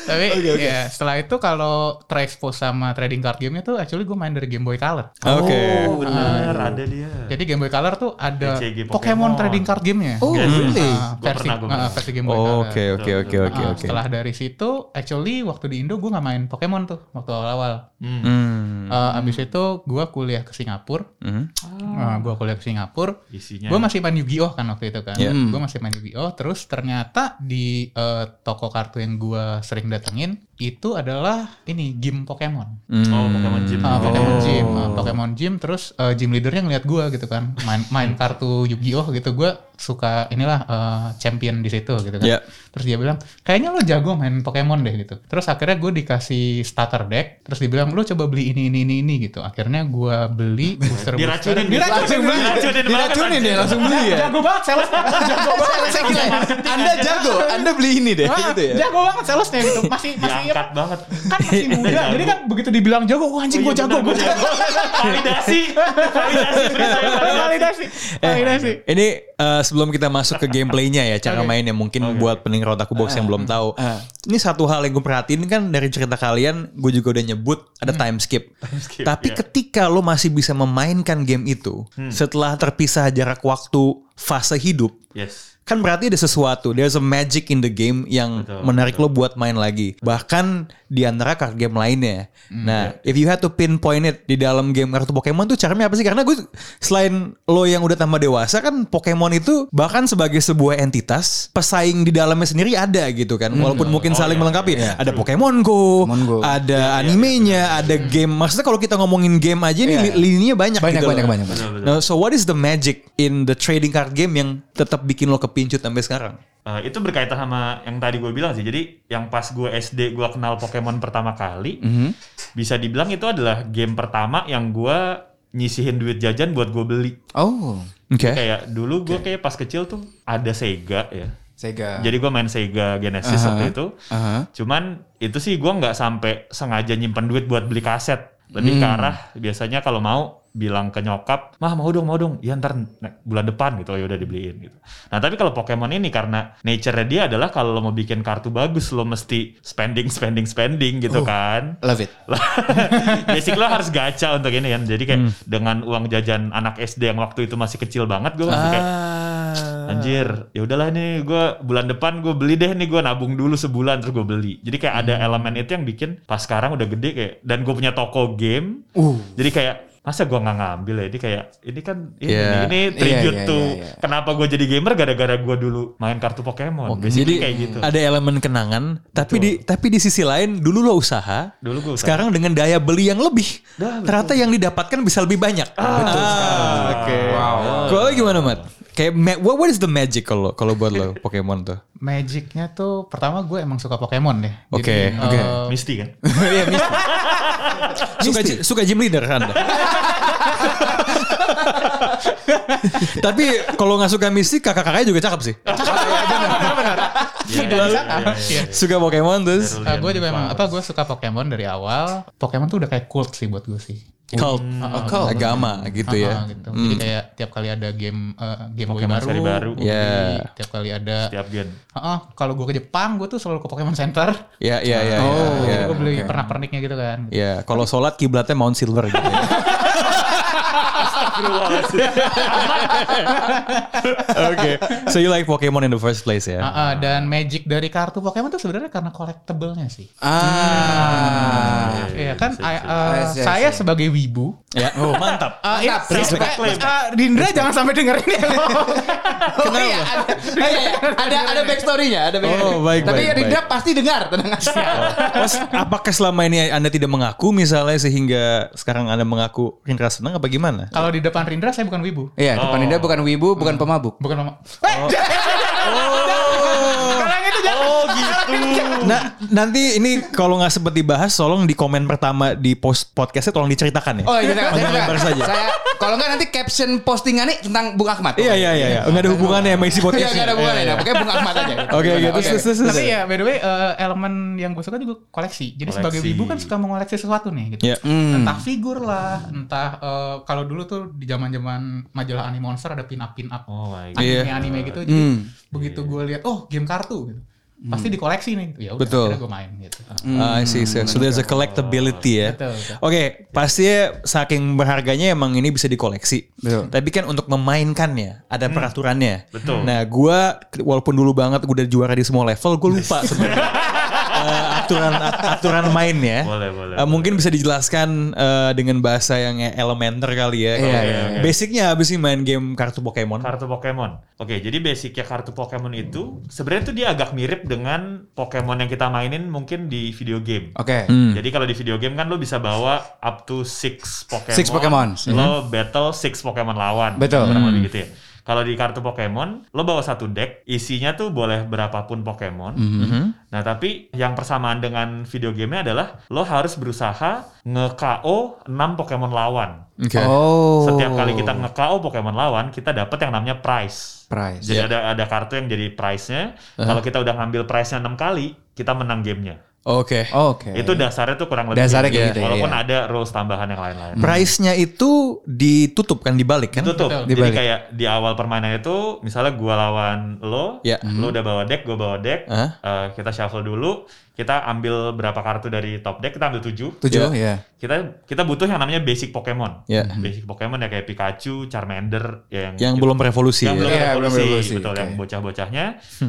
Speaker 3: Tapi ya, setelah itu kalau terexpose sama trading card game-nya tuh actually gua main dari Game Boy Color.
Speaker 1: Oke. Iya.
Speaker 4: Oh bener ada dia.
Speaker 3: Jadi Game Boy Color tuh ada Pokemon,
Speaker 4: TCG Pokemon
Speaker 3: trading card game-nya.
Speaker 2: Oh,
Speaker 4: Yes.
Speaker 2: really?
Speaker 3: Ah,
Speaker 4: Gua
Speaker 3: versi,
Speaker 4: pernah, gua pernah.
Speaker 3: ah, versi Game Boy Color.
Speaker 1: Oke oke oke
Speaker 3: Ah,
Speaker 1: oke oke.
Speaker 3: Setelah dari situ, actually waktu di Indo gue nggak main Pokemon tuh waktu awal-awal.
Speaker 1: Hmm.
Speaker 3: Eh, abis itu gue kuliah ke Singapura.
Speaker 1: Hmm.
Speaker 3: Eh, gue kuliah ke Singapura.
Speaker 4: Ah. Isinya. ya.
Speaker 3: Gue masih main Yu-Gi-Oh kan waktu itu kan.
Speaker 1: Iya.
Speaker 3: Gue masih main Yu-Gi-Oh. Terus ternyata di eh, toko kartu yang gue sering datengin itu adalah ini game Pokemon.
Speaker 1: Hmm.
Speaker 4: Oh Pokemon Gym.
Speaker 3: Ah, Pokemon
Speaker 4: Oh.
Speaker 3: Gym, ah, Pokemon Gym, terus eh, gym leadernya ngeliat gua gitu kan, main, main kartu Yu-Gi-Oh gitu, gua suka inilah eh, champion di situ gitu kan.
Speaker 1: Iya.
Speaker 3: Terus dia bilang, kayaknya lo jago main Pokemon deh gitu. Terus akhirnya gue dikasih starter deck, terus dibilang lo coba beli ini ini ini ini gitu. Akhirnya gua beli booster booster.
Speaker 4: Diracunin.
Speaker 3: diracunin,
Speaker 4: Langsung beli. Diracunin banget,
Speaker 1: Diracunin deh
Speaker 4: anjing.
Speaker 1: langsung beli ya.
Speaker 3: Jago banget salesnya, jago banget salesnya.
Speaker 1: Anda jago, Anda beli ini deh
Speaker 3: Ah,
Speaker 1: gitu ya.
Speaker 3: Jago banget salesnya gitu, masih masih
Speaker 4: Diangkat banget.
Speaker 3: kan masih muda, jadi kan begitu dibilang jago, wah anjing
Speaker 4: Oh,
Speaker 3: gue jago, gue jago.
Speaker 4: Validasi. iya, Validasi. Beri saya validasi.
Speaker 3: validasi
Speaker 1: Eh,
Speaker 3: validasi
Speaker 1: Ini eh, sebelum kita masuk ke gameplaynya ya, cara mainnya mungkin buat pendengar otakku box
Speaker 4: Eh,
Speaker 1: yang belum tahu. Ini satu hal yang gue perhatiin kan dari cerita kalian, gue juga udah nyebut ada time skip.
Speaker 4: Hmm. skip,
Speaker 1: Tapi
Speaker 4: ya.
Speaker 1: ketika lo masih bisa memainkan game itu,
Speaker 4: Hmm.
Speaker 1: setelah terpisah jarak waktu fase hidup,
Speaker 4: Yes.
Speaker 1: kan berarti ada sesuatu there's a magic in the game yang
Speaker 4: Betul,
Speaker 1: menarik lo buat main lagi bahkan di antara card game lainnya
Speaker 2: Hmm, iya.
Speaker 1: nah if you had to pinpoint it di dalam game kartu Pokemon tuh caranya apa sih karena gue selain lo yang udah tambah dewasa kan Pokemon itu bahkan sebagai sebuah entitas pesaing di dalamnya sendiri ada gitu kan walaupun
Speaker 4: Oh,
Speaker 1: mungkin saling
Speaker 4: iya,
Speaker 1: melengkapi ada Pokemon Go,
Speaker 2: Pokemon Hmm. Go.
Speaker 1: ada animenya
Speaker 4: iya,
Speaker 1: ada game maksudnya kalau kita ngomongin game aja nih
Speaker 2: Iya,
Speaker 1: li-
Speaker 2: iya.
Speaker 1: lininya banyak
Speaker 2: Banyak
Speaker 1: gitu
Speaker 2: banyak
Speaker 1: loh.
Speaker 2: banyak. banyak.
Speaker 4: Betul, betul.
Speaker 1: Nah, so what is the magic in the trading card game yang tetap bikin lo kepincut sampai sekarang?
Speaker 4: Eh, itu berkaitan sama yang tadi gue bilang sih. Jadi yang pas gue SD gue kenal Pokemon pertama kali, bisa dibilang itu adalah game pertama yang gue nyisihin duit jajan buat gue beli.
Speaker 2: Oh,
Speaker 1: Oke.
Speaker 4: Kayak dulu gue kayak pas kecil tuh ada Sega ya.
Speaker 2: Sega.
Speaker 4: Jadi gue main Sega Genesis waktu itu.
Speaker 2: Aha.
Speaker 4: Cuman itu sih gue nggak sampai sengaja nyimpen duit buat beli kaset. Lebih ke arah biasanya kalau mau bilang ke nyokap, mah mau dong mau dong, ya ntar ne- bulan depan gitu, ya udah dibeliin gitu. Nah tapi kalau Pokemon ini karena nature-nya dia adalah kalau lo mau bikin kartu bagus lo mesti spending spending spending gitu kan.
Speaker 2: Love it.
Speaker 4: Basic lo harus gacha untuk ini kan. Jadi kayak
Speaker 2: Hmm.
Speaker 4: dengan uang jajan anak SD yang waktu itu masih kecil banget gue masih kayak
Speaker 2: Ah.
Speaker 4: Anjir, ya udahlah nih gue bulan depan gue beli deh nih gue nabung dulu sebulan terus gue beli. Jadi
Speaker 2: Hmm. Uh.
Speaker 4: kayak ada elemen itu yang bikin pas sekarang udah gede kayak dan gue punya toko game. Jadi kayak masa gua nggak ngambil ya ini kayak ini kan ini
Speaker 1: Iya.
Speaker 4: ini, ini
Speaker 2: Iya,
Speaker 4: tribute
Speaker 2: iya,
Speaker 4: to
Speaker 2: iya, iya.
Speaker 4: kenapa gua jadi gamer gara-gara gua dulu main kartu Pokemon.
Speaker 1: Oke,
Speaker 4: Basically
Speaker 1: jadi
Speaker 4: kayak gitu.
Speaker 1: ada elemen kenangan, tapi di tapi di sisi lain dulu lo usaha,
Speaker 4: Dulu gua usaha.
Speaker 1: sekarang dengan daya beli yang lebih,
Speaker 4: Dah, betul.
Speaker 1: ternyata yang didapatkan bisa lebih banyak. Ah, Oke. Kalau lo gimana, Mat? Kayak ma- what, what is the magic kalau kalau buat lo Pokemon tuh?
Speaker 3: Magicnya tuh pertama gue emang suka Pokemon deh.
Speaker 2: Oh,
Speaker 1: Oke,
Speaker 3: Jadi,
Speaker 1: oke.
Speaker 3: eh,
Speaker 4: Misty kan?
Speaker 1: Iya, Miss. suka suka gym leader Anda. Tapi kalau nggak suka mistik kakak-kakaknya juga cakep sih.
Speaker 4: Iya,
Speaker 3: Tidak bisa.
Speaker 4: iya, iya, iya.
Speaker 1: Suka Pokemon terus
Speaker 4: Darlian
Speaker 2: iya,
Speaker 3: gue Eh, juga emang
Speaker 4: Flowers.
Speaker 3: apa gue suka Pokemon dari awal. Pokemon tuh udah kayak cult sih buat gue sih.
Speaker 2: Oh,
Speaker 1: cult,
Speaker 2: cult.
Speaker 1: agama gitu ya.
Speaker 3: Ah, gitu.
Speaker 2: Hmm.
Speaker 3: Jadi kayak tiap kali ada game eh, game Boy
Speaker 4: Pokemon
Speaker 3: baru,
Speaker 4: seri baru.
Speaker 3: jadi
Speaker 2: Iya.
Speaker 1: Yeah.
Speaker 3: tiap kali ada
Speaker 4: Setiap gen.
Speaker 3: Heeh, kalau gue ke Jepang, gue tuh selalu ke Pokemon Center.
Speaker 1: Ya, ya,
Speaker 2: Oh,
Speaker 1: ya. ya,
Speaker 2: iya,
Speaker 1: ya.
Speaker 3: gue Oh. beli pernak-perniknya gitu kan.
Speaker 1: Ya, kalau sholat kiblatnya Mount Silver gitu. ya. Oke. So you like Pokemon in the first place ya?
Speaker 3: Heeh, Uh-uh, dan magic dari kartu Pokemon tuh sebenarnya karena collectible-nya sih.
Speaker 2: Ah.
Speaker 3: Iya kan, I- eh,
Speaker 2: I see, I
Speaker 3: saya
Speaker 2: see.
Speaker 3: sebagai wibu.
Speaker 1: Ya, oh, mantap.
Speaker 3: eh, ini-
Speaker 2: Mantap, respect.
Speaker 3: eh, eh, Dindra jangan sampai dengerin ya.
Speaker 2: Oh, iya, ada, iya, iya. ada ada backstory-nya, ada backstory.
Speaker 1: Oh, baik,
Speaker 2: Tapi
Speaker 1: baik,
Speaker 2: Rinda pasti dengar, tenang aja.
Speaker 1: Mas, apakah selama ini Anda tidak mengaku misalnya sehingga sekarang Anda mengaku Rindra senang apa gimana?
Speaker 3: Kalau di depan Rindra saya bukan wibu.
Speaker 2: Iya,
Speaker 4: Oh.
Speaker 2: depan Rinda bukan wibu, bukan pemabuk.
Speaker 3: Bukan mama. Eh, Kalangnya itu jangan.
Speaker 4: Oh gitu.
Speaker 1: Nah, nanti ini kalau nggak sempat dibahas, tolong di komen pertama di post podcastnya tolong diceritakan ya.
Speaker 2: Oh, iya, saya, saya,
Speaker 1: Panjang lebar
Speaker 2: saya,
Speaker 1: saja.
Speaker 2: saya kalau enggak nanti caption postingannya tentang Bung Ahmad.
Speaker 1: Iya, iya, iya. iya. Nggak ada hubungannya sama isi
Speaker 2: Iya,
Speaker 1: podcastnya.
Speaker 2: enggak ada hubungannya. Nah, Pokoknya Bung Ahmad aja.
Speaker 1: Oke, oke. Terus, terus, terus, terus.
Speaker 3: Tapi ya, by the way, eh, elemen yang gue suka juga koleksi. Jadi sebagai
Speaker 4: Koleksi.
Speaker 3: wibu kan suka mengoleksi sesuatu nih. Gitu.
Speaker 1: Iya.
Speaker 2: Hmm,
Speaker 3: Entah figur lah, entah eh, kalau dulu tuh di zaman-zaman majalah anime monster ada pin up pin up.
Speaker 4: Oh my god.
Speaker 1: Iya.
Speaker 3: anime-anime gitu. Jadi begitu gue lihat, oh game kartu gitu. Pasti dikoleksi nih. Ya udah,
Speaker 1: Betul.
Speaker 3: akhirnya gue main gitu.
Speaker 4: Hmm.
Speaker 1: Ah, I see, sir. So there's a collectability ya.
Speaker 3: Betul, betul.
Speaker 1: Oke, pastinya saking berharganya emang ini bisa dikoleksi.
Speaker 2: Betul.
Speaker 1: Tapi kan untuk memainkannya ada peraturannya.
Speaker 4: Hmm. Betul.
Speaker 1: Nah, gua walaupun dulu banget gua udah juara di semua level, gue lupa sebenarnya. eh, aturan at- aturan mainnya.
Speaker 4: Boleh, boleh,
Speaker 1: Eh, mungkin bisa dijelaskan eh, dengan bahasa yang elementer kali ya. Kalau
Speaker 2: iya,
Speaker 4: iya.
Speaker 1: Basicnya habis sih main game kartu Pokemon.
Speaker 4: Kartu Pokemon. Oke, jadi basicnya kartu Pokemon itu sebenarnya tuh dia agak mirip dengan Pokemon yang kita mainin mungkin di video game.
Speaker 2: Oke.
Speaker 1: Hmm,
Speaker 4: Jadi kalau di video game kan lo bisa bawa up to 6 Pokemon.
Speaker 2: Six Pokemon. Hmm.
Speaker 4: Lo battle 6 Pokemon lawan.
Speaker 2: Betul. Hmm.
Speaker 4: Kurang lebih gitu ya. Kalau di kartu Pokemon, lo bawa satu deck, isinya tuh boleh berapapun Pokemon.
Speaker 2: Hmm.
Speaker 4: Nah tapi yang persamaan dengan video gamenya adalah lo harus berusaha nge-KO 6 Pokemon lawan.
Speaker 1: Oke.
Speaker 2: Oh.
Speaker 4: Setiap kali kita nge-KO Pokemon lawan, kita dapat yang namanya prize.
Speaker 2: price.
Speaker 4: Jadi ada ada kartu yang jadi prize-nya. Kalau kita udah ngambil prize-nya 6 kali, kita menang gamenya.
Speaker 1: Oke.
Speaker 2: Oke.
Speaker 4: Itu dasarnya tuh kurang lebih
Speaker 2: Iya, Dasarnya kayak gitu ya,
Speaker 4: Walaupun
Speaker 2: iya. Hmm.
Speaker 4: ada rules tambahan yang lain-lain.
Speaker 1: Price-nya itu ditutup kan dibalik kan?
Speaker 4: Tutup.
Speaker 3: Betul.
Speaker 4: Jadi
Speaker 2: Dibalik.
Speaker 4: kayak di awal permainan itu misalnya gua lawan lo,
Speaker 2: Iya.
Speaker 1: Ya.
Speaker 4: lo
Speaker 2: Hmm.
Speaker 4: udah bawa deck, gua bawa deck,
Speaker 1: Hah?
Speaker 4: eh, kita shuffle dulu, kita ambil berapa kartu dari top deck, kita ambil 7.
Speaker 2: Tujuh, ya.
Speaker 4: iya. Kita kita butuh yang namanya basic Pokemon.
Speaker 2: Iya.
Speaker 1: Ya.
Speaker 4: Basic Pokemon ya kayak Pikachu, Charmander ya yang
Speaker 1: Yang belum revolusi
Speaker 4: yang
Speaker 1: ya.
Speaker 4: belum
Speaker 2: Iya,
Speaker 4: revolusi,
Speaker 2: belum revolusi,
Speaker 4: betul
Speaker 2: oke.
Speaker 4: yang bocah-bocahnya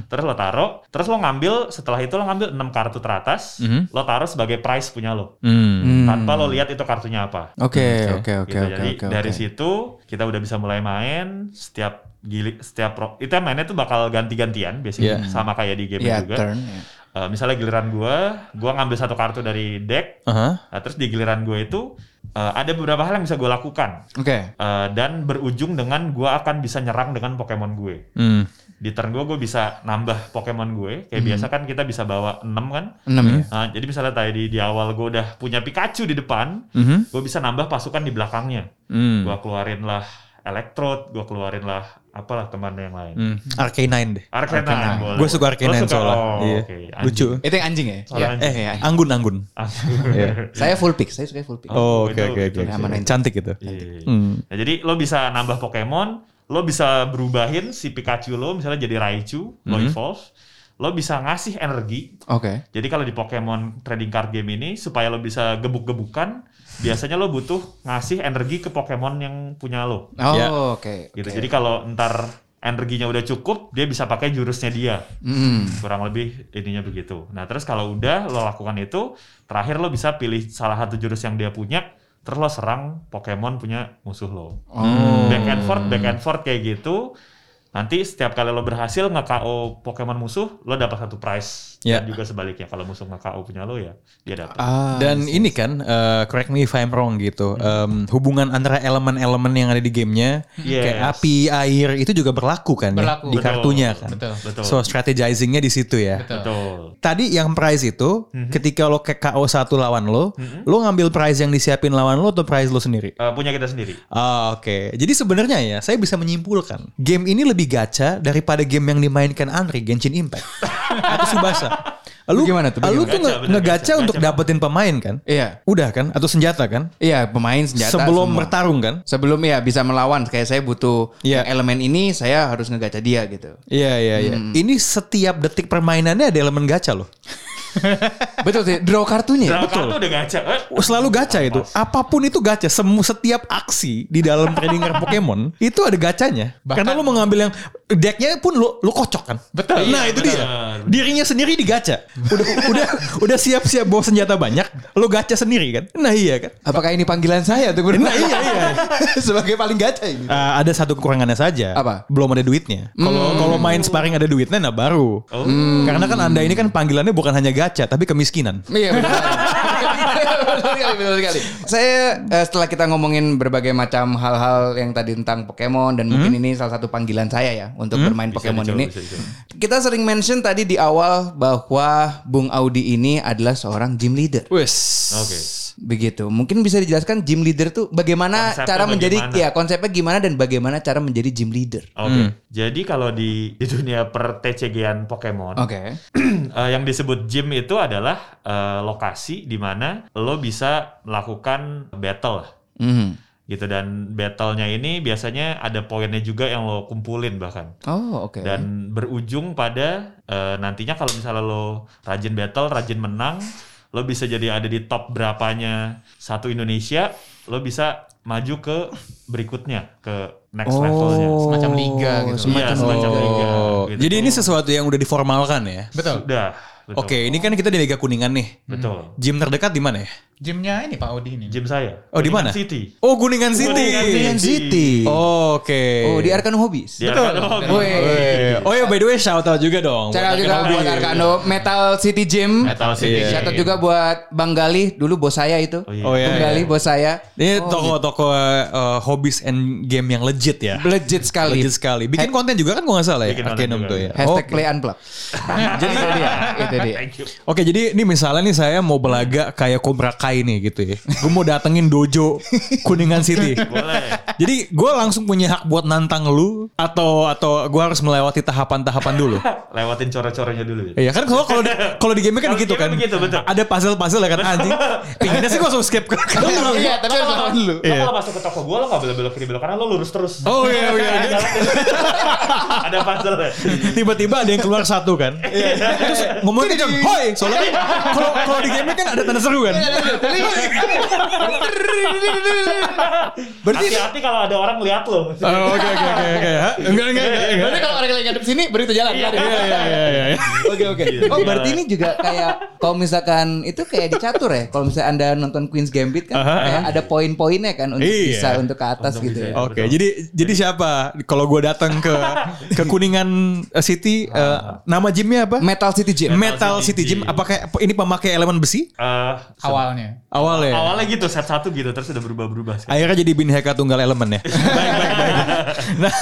Speaker 4: terus lo taruh terus lo ngambil setelah itu lo ngambil 6 kartu teratas
Speaker 2: Mhm.
Speaker 4: lo taruh sebagai prize punya lo
Speaker 1: Hmm.
Speaker 4: tanpa lo lihat itu kartunya apa
Speaker 2: iya. Oke, oke, oke,
Speaker 4: Gitu,
Speaker 2: oke,
Speaker 4: jadi
Speaker 2: oke.
Speaker 4: dari
Speaker 2: oke.
Speaker 4: situ kita udah bisa mulai main setiap gili setiap ro- itu yang mainnya tuh bakal ganti-gantian biasanya
Speaker 1: Iya.
Speaker 4: sama kayak di game
Speaker 2: Iya,
Speaker 4: juga
Speaker 2: turn. ya.
Speaker 4: Eh, misalnya giliran gua gua ngambil satu kartu dari deck
Speaker 1: Aha.
Speaker 4: nah, terus di giliran gua itu eh, ada beberapa hal yang bisa gua lakukan
Speaker 2: Oke.
Speaker 4: Eh, dan berujung dengan gua akan bisa nyerang dengan Pokemon gue
Speaker 1: Hmm.
Speaker 4: di turn gue gue bisa nambah Pokemon gue kayak biasa kan kita bisa bawa 6 kan
Speaker 2: Enam
Speaker 1: Iya.
Speaker 2: ya.
Speaker 4: Nah, jadi misalnya tadi di awal gue udah punya Pikachu di depan
Speaker 1: Mhm.
Speaker 4: gue bisa nambah pasukan di belakangnya
Speaker 1: Hmm.
Speaker 4: gue keluarin lah Electrode gue keluarin lah apalah teman yang lain
Speaker 1: Hmm. Arcanine deh.
Speaker 4: Arcanine,
Speaker 2: Arcanine.
Speaker 4: boleh.
Speaker 1: Gue suka Arcanine
Speaker 4: Lo Oh, suka?
Speaker 1: soalnya.
Speaker 4: Oh,
Speaker 1: Iya.
Speaker 4: oke.
Speaker 1: Lucu.
Speaker 4: Anjing.
Speaker 2: Itu yang anjing ya?
Speaker 4: Soalnya
Speaker 2: Iya.
Speaker 4: anjing.
Speaker 2: Iya, anjing.
Speaker 1: Anggun anggun.
Speaker 2: Saya full pick, saya suka full pick.
Speaker 1: Oh,
Speaker 4: itu-
Speaker 1: oke oke
Speaker 4: itu
Speaker 1: oke.
Speaker 2: aman aja.
Speaker 1: Cantik gitu.
Speaker 4: Iya.
Speaker 1: Hmm.
Speaker 4: Nah, jadi lo bisa nambah Pokemon, lo bisa berubahin si Pikachu lo misalnya jadi Raichu, lo evolve,
Speaker 1: Hmm.
Speaker 4: lo bisa ngasih energi
Speaker 2: Oke.
Speaker 4: Jadi kalau di Pokemon trading card game ini supaya lo bisa gebuk-gebukan, biasanya lo butuh ngasih energi ke Pokemon yang punya lo.
Speaker 1: Ya.
Speaker 2: Oh, oke.
Speaker 4: Gitu.
Speaker 2: oke.
Speaker 4: Jadi kalau ntar energinya udah cukup, dia bisa pakai jurusnya dia.
Speaker 2: Hmm.
Speaker 4: Kurang lebih ininya begitu. Nah, terus kalau udah lo lakukan itu, terakhir lo bisa pilih salah satu jurus yang dia punya, terus lo serang Pokemon punya musuh lo.
Speaker 2: Oh.
Speaker 1: Hmm.
Speaker 4: Back and forth, back and forth kayak gitu. Nanti setiap kali lo berhasil nge-KO Pokemon musuh, lo dapat satu prize.
Speaker 1: Ya. Ah,
Speaker 4: Dan juga sebaliknya kalau musuh nge-KO punya lo ya, dia dapat. iya,
Speaker 1: Dan ini kan, eh, correct me if I'm wrong gitu,
Speaker 4: Hmm.
Speaker 1: em, hubungan antara elemen-elemen yang ada di gamenya,
Speaker 4: Yes.
Speaker 1: kayak api, air, itu juga berlaku kan ya,
Speaker 3: Berlaku.
Speaker 1: di
Speaker 3: Betul.
Speaker 1: kartunya kan.
Speaker 3: Betul.
Speaker 4: Betul.
Speaker 1: So strategizingnya di situ ya.
Speaker 3: Betul.
Speaker 4: Betul. Hmm.
Speaker 1: Tadi yang prize itu, ketika lo ke KO satu lawan lo, lo ngambil prize yang disiapin lawan lo atau prize lo sendiri?
Speaker 4: Eh, punya kita sendiri.
Speaker 1: Ah, oke. Jadi sebenarnya ya, saya bisa menyimpulkan, game ini lebih gacha daripada game yang dimainkan Andre Genshin Impact atau Subasa. Lu
Speaker 2: Gimana tuh?
Speaker 1: Lu
Speaker 2: Bagaimana?
Speaker 1: tuh nge-
Speaker 4: Gacha, bener,
Speaker 1: ngegacha
Speaker 4: gacha,
Speaker 1: untuk
Speaker 4: gacha.
Speaker 1: dapetin pemain kan?
Speaker 2: Iya.
Speaker 1: Udah kan? Atau senjata kan?
Speaker 2: Iya, pemain senjata
Speaker 1: Sebelum
Speaker 2: semua.
Speaker 1: bertarung kan?
Speaker 2: Sebelum ya bisa melawan kayak saya butuh
Speaker 1: Iya.
Speaker 2: yang elemen ini saya harus ngegaca dia gitu.
Speaker 1: Iya, iya, iya. Ini setiap detik permainannya ada elemen gacha loh.
Speaker 2: Betul sih, draw kartunya.
Speaker 1: Ya,
Speaker 4: Draw kartu udah gacha. Eh,
Speaker 1: Selalu gacha itu. Apapun itu gacha. Semu setiap aksi di dalam tradinger Pokemon itu ada gacanya.
Speaker 3: Bahkan-
Speaker 1: Karena lu mengambil yang decknya pun lu lu kocok kan.
Speaker 3: Betul.
Speaker 1: Nah, itu dia.
Speaker 4: benar.
Speaker 1: Dirinya sendiri digacha. Udah udah udah siap-siap bawa senjata banyak, lu gacha sendiri kan. Nah, iya kan.
Speaker 2: Apakah ini panggilan saya untuk bermain?
Speaker 1: Nah, iya, iya.
Speaker 2: Sebagai paling gacha ini.
Speaker 1: Eh, ada satu kekurangannya saja.
Speaker 2: Apa?
Speaker 1: Belum ada duitnya. Kalau kalau main sparring ada duitnya nah baru.
Speaker 4: Oh.
Speaker 1: Karena kan Anda ini kan panggilannya bukan hanya gacha tapi kemiskinan.
Speaker 2: Iya betul. Betul sekali, betul sekali. Saya eh, setelah kita ngomongin berbagai macam hal-hal yang tadi tentang Pokemon dan mungkin ini salah satu panggilan saya ya untuk bermain Pokemon
Speaker 4: dicoba,
Speaker 2: ini.
Speaker 4: Hmm? bisa dicoba.
Speaker 2: Kita sering mention tadi di awal bahwa Bung Audi ini adalah seorang gym leader.
Speaker 1: Wes.
Speaker 4: Oke.
Speaker 2: Begitu. Mungkin bisa dijelaskan gym leader tuh bagaimana
Speaker 4: Konsepnya
Speaker 2: cara menjadi
Speaker 4: bagaimana?
Speaker 2: ya konsepnya gimana dan bagaimana cara menjadi gym leader.
Speaker 4: Oke.
Speaker 1: Hmm.
Speaker 4: Jadi kalau di, di dunia per TCG-an Pokemon,
Speaker 2: Oke.
Speaker 4: Eh, yang disebut gym itu adalah eh, lokasi di mana lo bisa melakukan battle lah,
Speaker 2: Mhm.
Speaker 4: gitu dan battlenya ini biasanya ada poinnya juga yang lo kumpulin bahkan
Speaker 2: Oh, oke.
Speaker 4: dan berujung pada eh, nantinya kalau misalnya lo rajin battle rajin menang lo bisa jadi ada di top berapanya satu Indonesia lo bisa maju ke berikutnya ke next
Speaker 1: Oh.
Speaker 2: Oh.
Speaker 4: levelnya
Speaker 3: Semacam liga gitu.
Speaker 4: Iya, semacam liga, gitu.
Speaker 1: Jadi ini sesuatu yang udah diformalkan ya.
Speaker 3: Betul.
Speaker 4: Udah, betul.
Speaker 1: Oke, ini kan kita di Mega Kuningan nih.
Speaker 4: betul
Speaker 1: Gym terdekat di mana ya?
Speaker 3: Gymnya ini Pak Odi ini.
Speaker 4: gym saya
Speaker 1: Oh, di mana?
Speaker 4: Kuningan City
Speaker 1: Oh, Kuningan City.
Speaker 4: Kuningan
Speaker 2: City.
Speaker 1: Oh, Oke.
Speaker 2: Oh, di Arkan Hobbies.
Speaker 4: Di Arkadomi.
Speaker 1: Eh, Oh ya by the way shout out juga dong.
Speaker 2: Shout out juga
Speaker 4: Arcano
Speaker 2: buat
Speaker 4: Hobby.
Speaker 2: Arcano Metal City Gym.
Speaker 4: Metal
Speaker 1: Iya.
Speaker 4: City Gym.
Speaker 2: Shout out juga buat Bang Galih dulu bos saya itu.
Speaker 4: Oh, iya.
Speaker 1: Oh, iya,
Speaker 2: Bang
Speaker 1: iya.
Speaker 2: Galih bos saya.
Speaker 1: Ini
Speaker 2: iya.
Speaker 1: toko-toko eh, hobbies and game yang legit ya.
Speaker 2: Legit sekali.
Speaker 1: Legit sekali. Bikin konten juga kan kalau nggak salah ya.
Speaker 4: Bikin konten
Speaker 1: Arcanum
Speaker 4: juga.
Speaker 1: tuh ya.
Speaker 2: Hashtag
Speaker 1: Oke.
Speaker 2: play unplug. Jadi itu dia, itu dia.
Speaker 4: Thank you.
Speaker 1: Oh, Oke jadi ini misalnya nih saya mau belaga kayak Cobra Kai nih gitu ya. Gue mau datengin dojo Kuningan City.
Speaker 4: Boleh.
Speaker 1: Jadi gue langsung punya hak buat nantang lu atau atau gue harus melewati tahapan-tahapan dulu.
Speaker 4: Lewatin core-corenya dulu. ya.
Speaker 1: Iya kan kalau kalau di, kalau di game kan
Speaker 4: Kalau
Speaker 1: gitu
Speaker 4: di game
Speaker 1: kan.
Speaker 4: begitu, betul.
Speaker 1: Ada puzzle-puzzle ya kan anjing. Pinginnya sih gue langsung skip kan. ke ke lu.
Speaker 2: Iya, tapi harus lawan dulu.
Speaker 4: Lo kalau masuk ke toko gue lo gak belok-belok kiri belok karena lo lurus terus. ya.
Speaker 1: Oh iya iya. iya.
Speaker 4: Ada puzzle ya.
Speaker 1: Tiba-tiba ada yang keluar satu kan. Terus ngomongnya jangan hoi. Soalnya kan kalau kalau di game kan ada tanda seru kan.
Speaker 2: Iya, Berarti
Speaker 4: Hati-hati kalau ada orang lihat
Speaker 1: Oh,
Speaker 4: lo.
Speaker 1: Oke oke oke oke. Hah? Enggak enggak enggak. enggak.
Speaker 2: berarti kalau orang lagi ngadep sini baru itu jalan.
Speaker 1: Iya iya iya iya.
Speaker 2: Oke oke. Oh berarti
Speaker 4: Iya,
Speaker 2: ini juga kayak kalau misalkan itu kayak dicatur ya. Kalau misalnya anda nonton Queen's Gambit kan,
Speaker 1: Aha.
Speaker 2: kayak ada poin-poinnya kan untuk
Speaker 1: Iya.
Speaker 2: bisa untuk ke atas
Speaker 4: Untuk
Speaker 2: gitu
Speaker 4: bisa.
Speaker 2: ya.
Speaker 1: Oke, jadi jadi siapa? Kalau gue datang ke ke Kuningan City, eh, nama gymnya apa?
Speaker 2: ya. Metal City Gym.
Speaker 1: Metal City Gym. Apakah ini pemakai elemen besi?
Speaker 4: Eh,
Speaker 3: Awalnya.
Speaker 1: Awalnya.
Speaker 4: awalnya gitu set satu gitu terus udah berubah-berubah. sekarang.
Speaker 1: Akhirnya jadi bin heka tunggal elemen ya. baik, baik, baik. Nah,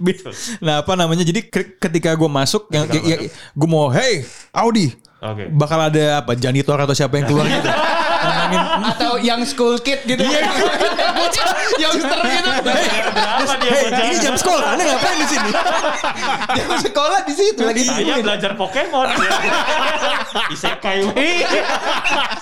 Speaker 1: bin- nah apa namanya? Jadi ke- ketika gue masuk, yang, gue mau, hey Audi,
Speaker 4: Oke.
Speaker 1: bakal ada apa? Janitor atau siapa yang keluar gitu? Nantangin,
Speaker 2: Atau yang school kid gitu. Iya. Youngster gitu.
Speaker 4: Berapa dia
Speaker 1: hey,
Speaker 4: bocah?
Speaker 1: eh, ini jam sekolah, anda ngapain di sini?
Speaker 2: Yang sekolah di situ lagi.
Speaker 4: Saya belajar Pokemon. Isekai.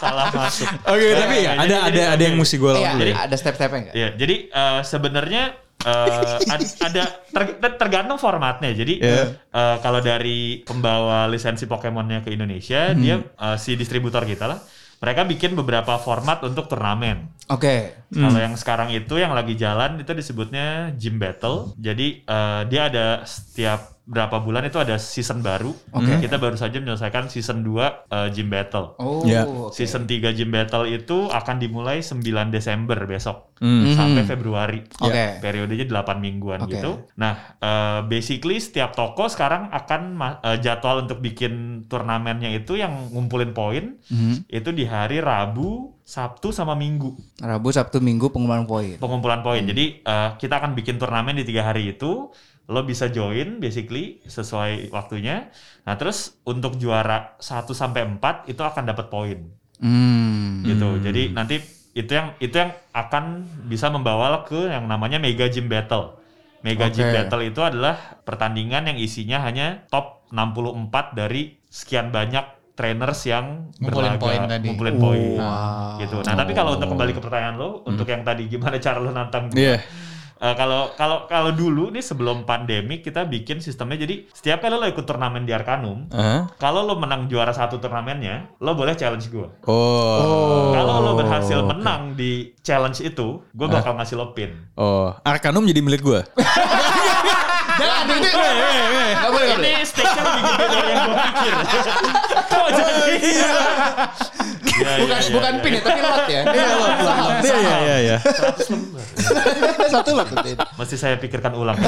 Speaker 4: Salah masuk.
Speaker 1: Iya. Oke, tapi ya ada
Speaker 4: jadi-
Speaker 1: ada
Speaker 4: jadi-
Speaker 1: ada yang mesti gue
Speaker 2: Iya,
Speaker 1: lawan dulu.
Speaker 2: jadi
Speaker 1: ya.
Speaker 2: ada step-stepnya enggak?
Speaker 4: Ya, jadi eh, sebenarnya eh, ad- ada ter- ter- tergantung formatnya. Jadi
Speaker 1: Iya.
Speaker 4: eh, kalau dari pembawa lisensi Pokemonnya ke Indonesia,
Speaker 1: Hmm.
Speaker 4: dia eh, si distributor kita lah, mereka bikin beberapa format untuk turnamen.
Speaker 2: Oke.
Speaker 4: Kalau yang sekarang itu yang lagi jalan itu disebutnya gym battle. Jadi eh, dia ada setiap berapa bulan itu ada season baru. Kita baru saja menyelesaikan season 2 eh, Gym Battle.
Speaker 2: Oh,
Speaker 1: Ya.
Speaker 2: oke.
Speaker 4: Season 3 Gym Battle itu akan dimulai 9 Desember besok
Speaker 1: Hmm.
Speaker 2: Mhm.
Speaker 4: sampai Februari.
Speaker 2: Oke.
Speaker 4: Ya, Periodenya 8 mingguan
Speaker 2: Oke.
Speaker 4: gitu. Nah, eh, basically setiap toko sekarang akan ma- eh, jadwal untuk bikin turnamennya itu yang ngumpulin poin
Speaker 2: Mhm.
Speaker 4: itu di hari Rabu, Sabtu sama Minggu
Speaker 2: Rabu, Sabtu, Minggu pengumuman poin.
Speaker 4: Gitu. pengumpulan poin. Jadi eh, kita akan bikin turnamen di tiga hari itu. Lo bisa join basically sesuai waktunya. Nah terus untuk juara 1 sampai 4 itu akan dapat poin
Speaker 2: Hmm.
Speaker 4: gitu. Jadi nanti itu yang itu yang akan bisa membawa lo ke yang namanya Mega Gym Battle. Mega Gym
Speaker 2: Oke.
Speaker 4: Battle itu adalah pertandingan yang isinya hanya top 64 dari sekian banyak trainers yang
Speaker 3: Ngumpulin
Speaker 4: berlaga,
Speaker 3: poin tadi.
Speaker 4: ngumpulin poin.
Speaker 2: Wow.
Speaker 4: Gitu. Nah, tapi kalau untuk kembali ke pertanyaan lo, untuk yang tadi gimana cara lo nantang gua?
Speaker 1: Iya.
Speaker 4: Eh, kalau kalau kalau dulu nih sebelum pandemi kita bikin sistemnya jadi setiap kali lo ikut turnamen di Arkanum,
Speaker 1: Hah?
Speaker 4: kalau lo menang juara satu turnamennya, lo boleh challenge gue.
Speaker 1: Oh.
Speaker 4: Kalau lo berhasil menang di challenge itu, gue bakal ngasih lo pin.
Speaker 1: Oh, Arkanum jadi milik gue.
Speaker 2: Jangan, itu. Nggak boleh, nggak boleh.
Speaker 4: Ini stage-nya lebih gede dari yang gue pikir. Kok jadi? Iya, Ya,
Speaker 2: Oh, iya. Bukan,
Speaker 4: ya, ya,
Speaker 2: bukan
Speaker 4: ya.
Speaker 2: pin ya, tapi lot ya. Iya, lot,
Speaker 1: Iya, iya, iya, iya.
Speaker 2: Satu lot. Tin.
Speaker 4: Mesti saya pikirkan ulang.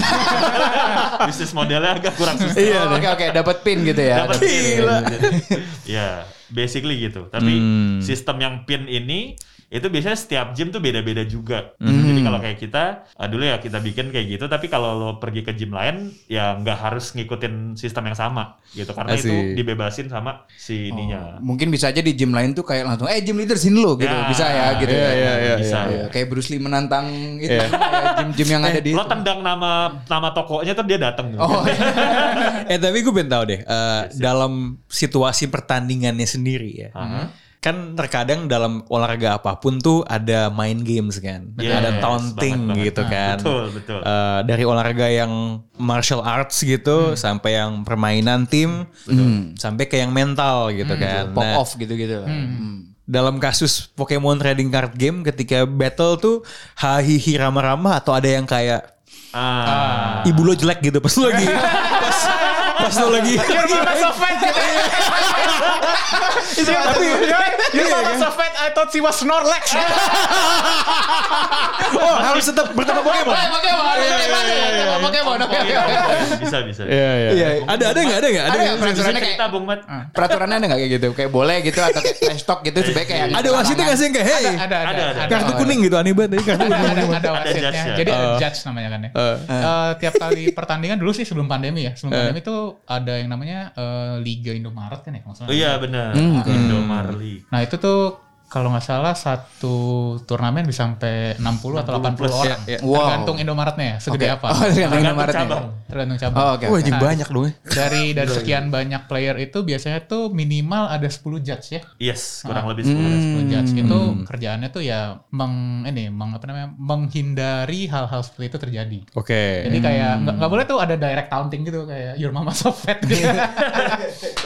Speaker 4: Bisnis modelnya agak kurang susah.
Speaker 1: Iya
Speaker 2: Oh,
Speaker 1: deh.
Speaker 2: Oke, oke, dapat pin gitu ya.
Speaker 4: Dapat
Speaker 2: Dapet
Speaker 4: pin.
Speaker 2: pin.
Speaker 4: Gila. ya, basically gitu. Tapi
Speaker 1: Hmm.
Speaker 4: sistem yang pin ini itu biasanya setiap gym tuh beda-beda juga.
Speaker 1: Hmm.
Speaker 4: Jadi kalau kayak kita ah, dulu ya kita bikin kayak gitu, tapi kalau lo pergi ke gym lain ya nggak harus ngikutin sistem yang sama gitu karena itu
Speaker 1: Asik.
Speaker 4: dibebasin sama si ininya.
Speaker 2: Mungkin bisa aja di gym lain tuh kayak langsung, eh gym leader sini lo gitu,
Speaker 4: Ya,
Speaker 2: bisa ya gitu.
Speaker 1: Iya, iya, iya.
Speaker 4: Bisa.
Speaker 1: iya.
Speaker 2: Iya, Kayak Bruce Lee menantang itu, kayak gym-gym yang ada di.
Speaker 4: Lo tendang nama nama tokonya tuh dia dateng. kan?
Speaker 2: Oh, iya.
Speaker 1: Eh tapi gue pengen tahu deh, eh, dalam situasi pertandingannya sendiri ya.
Speaker 4: Iya, Aha.
Speaker 1: Kan terkadang dalam olahraga apapun tuh ada mind games kan.
Speaker 4: Yes,
Speaker 1: ada taunting
Speaker 4: Iya, banget, banget.
Speaker 1: gitu
Speaker 4: Nah,
Speaker 1: kan.
Speaker 4: betul, betul.
Speaker 1: Eh, dari olahraga yang martial arts
Speaker 4: Hmm.
Speaker 1: gitu sampai yang permainan tim, sampai ke yang mental gitu
Speaker 4: Hmm,
Speaker 1: kan.
Speaker 2: pop
Speaker 1: Nah,
Speaker 2: off gitu-gitu. Hmm.
Speaker 1: dalam kasus Pokemon trading card game ketika battle tuh hahihi rama-rama atau ada yang kayak
Speaker 4: Ah.
Speaker 1: ibu lo jelek gitu pas lo lagi pas pas lo lagi
Speaker 4: Iya,
Speaker 3: gitu. tapi you son of a fat, I thought she was Snorlax.
Speaker 1: oh harus tetap bertemu Pokemon
Speaker 4: Iya,
Speaker 2: Eh, Pokemon, oke, oke, oke.
Speaker 4: bisa bisa.
Speaker 1: iya
Speaker 2: Iya.
Speaker 1: ada ada nggak ada nggak ada
Speaker 2: Ada
Speaker 1: nggak?
Speaker 2: nggak peraturannya kayak
Speaker 4: Cerita Bung Mat.
Speaker 2: peraturannya ada nggak kayak gitu? Kayak boleh gitu atau kayak trash talk gitu sebaiknya kayak
Speaker 1: ada wasitnya nggak sih yang kayak hey
Speaker 3: Ada, ada,
Speaker 4: Ada, ada.
Speaker 3: ada.
Speaker 1: kartu kuning gitu aneh banget ya, kartu
Speaker 3: Ada, ada,
Speaker 1: kuning
Speaker 3: ada
Speaker 4: Ada
Speaker 3: wasitnya.
Speaker 4: judge-nya.
Speaker 3: Jadi ada judge namanya kan ya.
Speaker 1: Eh.
Speaker 3: Eh, tiap kali pertandingan dulu sih sebelum pandemi ya. Sebelum pandemi tuh ada yang namanya eh, Liga Indomaret kan ya maksudnya.
Speaker 4: Oh iya benar. Indo Marley.
Speaker 3: Nah itu tuh kalau nggak salah satu turnamen bisa sampai 60 atau 80 orang.
Speaker 1: Iya, iya.
Speaker 2: Wow.
Speaker 3: Tergantung Indomaretnya ya, segede apa.
Speaker 2: Oh, tergantung
Speaker 4: Tergantung
Speaker 2: Indomaret ya.
Speaker 4: cabang.
Speaker 3: Tergantung cabang.
Speaker 2: Oh, oke.
Speaker 1: wah anjing banyak dong ya
Speaker 3: Dari dari sekian banyak player itu biasanya tuh minimal ada 10 judge ya.
Speaker 4: Yes, kurang lebih 10
Speaker 3: 10 judge itu kerjaannya tuh ya meng ini meng, apa namanya menghindari hal-hal seperti itu terjadi.
Speaker 1: oke
Speaker 3: Jadi kayak
Speaker 1: Hmm.
Speaker 3: nggak nggak boleh tuh ada direct taunting gitu kayak your mama so fat. gitu.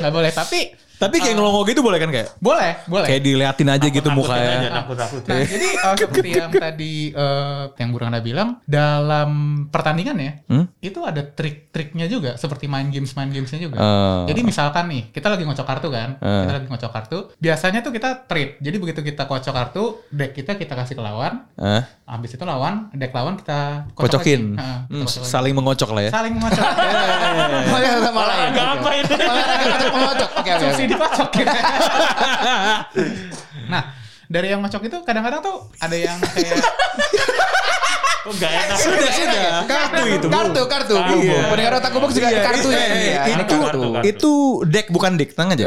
Speaker 3: Nggak boleh tapi
Speaker 1: tapi kayak ngelongo gitu boleh kan kayak
Speaker 3: boleh boleh.
Speaker 1: kayak diliatin aja gitu mukanya
Speaker 4: Takut takut.
Speaker 3: Nah, jadi eh, seperti yang tadi eh, yang Burang ada bilang dalam pertandingan ya,
Speaker 1: Hmm?
Speaker 3: itu ada trik-triknya juga seperti main games main gamesnya juga.
Speaker 1: Eh.
Speaker 3: Jadi misalkan nih kita lagi ngocok kartu kan, kita lagi ngocok kartu, biasanya tuh kita trade. Jadi begitu kita kocok kartu, deck kita kita kasih ke lawan,
Speaker 1: Hah?
Speaker 3: habis itu lawan deck lawan kita kocok
Speaker 1: kocokin
Speaker 3: lagi. Heeh,
Speaker 1: Hmm,
Speaker 3: kita kocok lagi.
Speaker 1: saling mengocok lah ya
Speaker 3: saling ngocok.
Speaker 2: Malah sama lain.
Speaker 4: Agak apa ini?
Speaker 2: Mengocok. Oke, oke.
Speaker 3: Subsidi kocok. iya. nah, dari yang ngocok itu kadang-kadang tuh ada yang kayak
Speaker 4: Kok gak enak?
Speaker 1: sudah sudah kartu itu
Speaker 2: Kartu, kartu.
Speaker 4: Iya.
Speaker 2: Pendengar otak kubuk juga ada kartu
Speaker 1: Eh,
Speaker 2: ya.
Speaker 1: eh,
Speaker 2: Iya,
Speaker 1: itu
Speaker 4: kartu, kartu.
Speaker 1: itu deck bukan deck tenang aja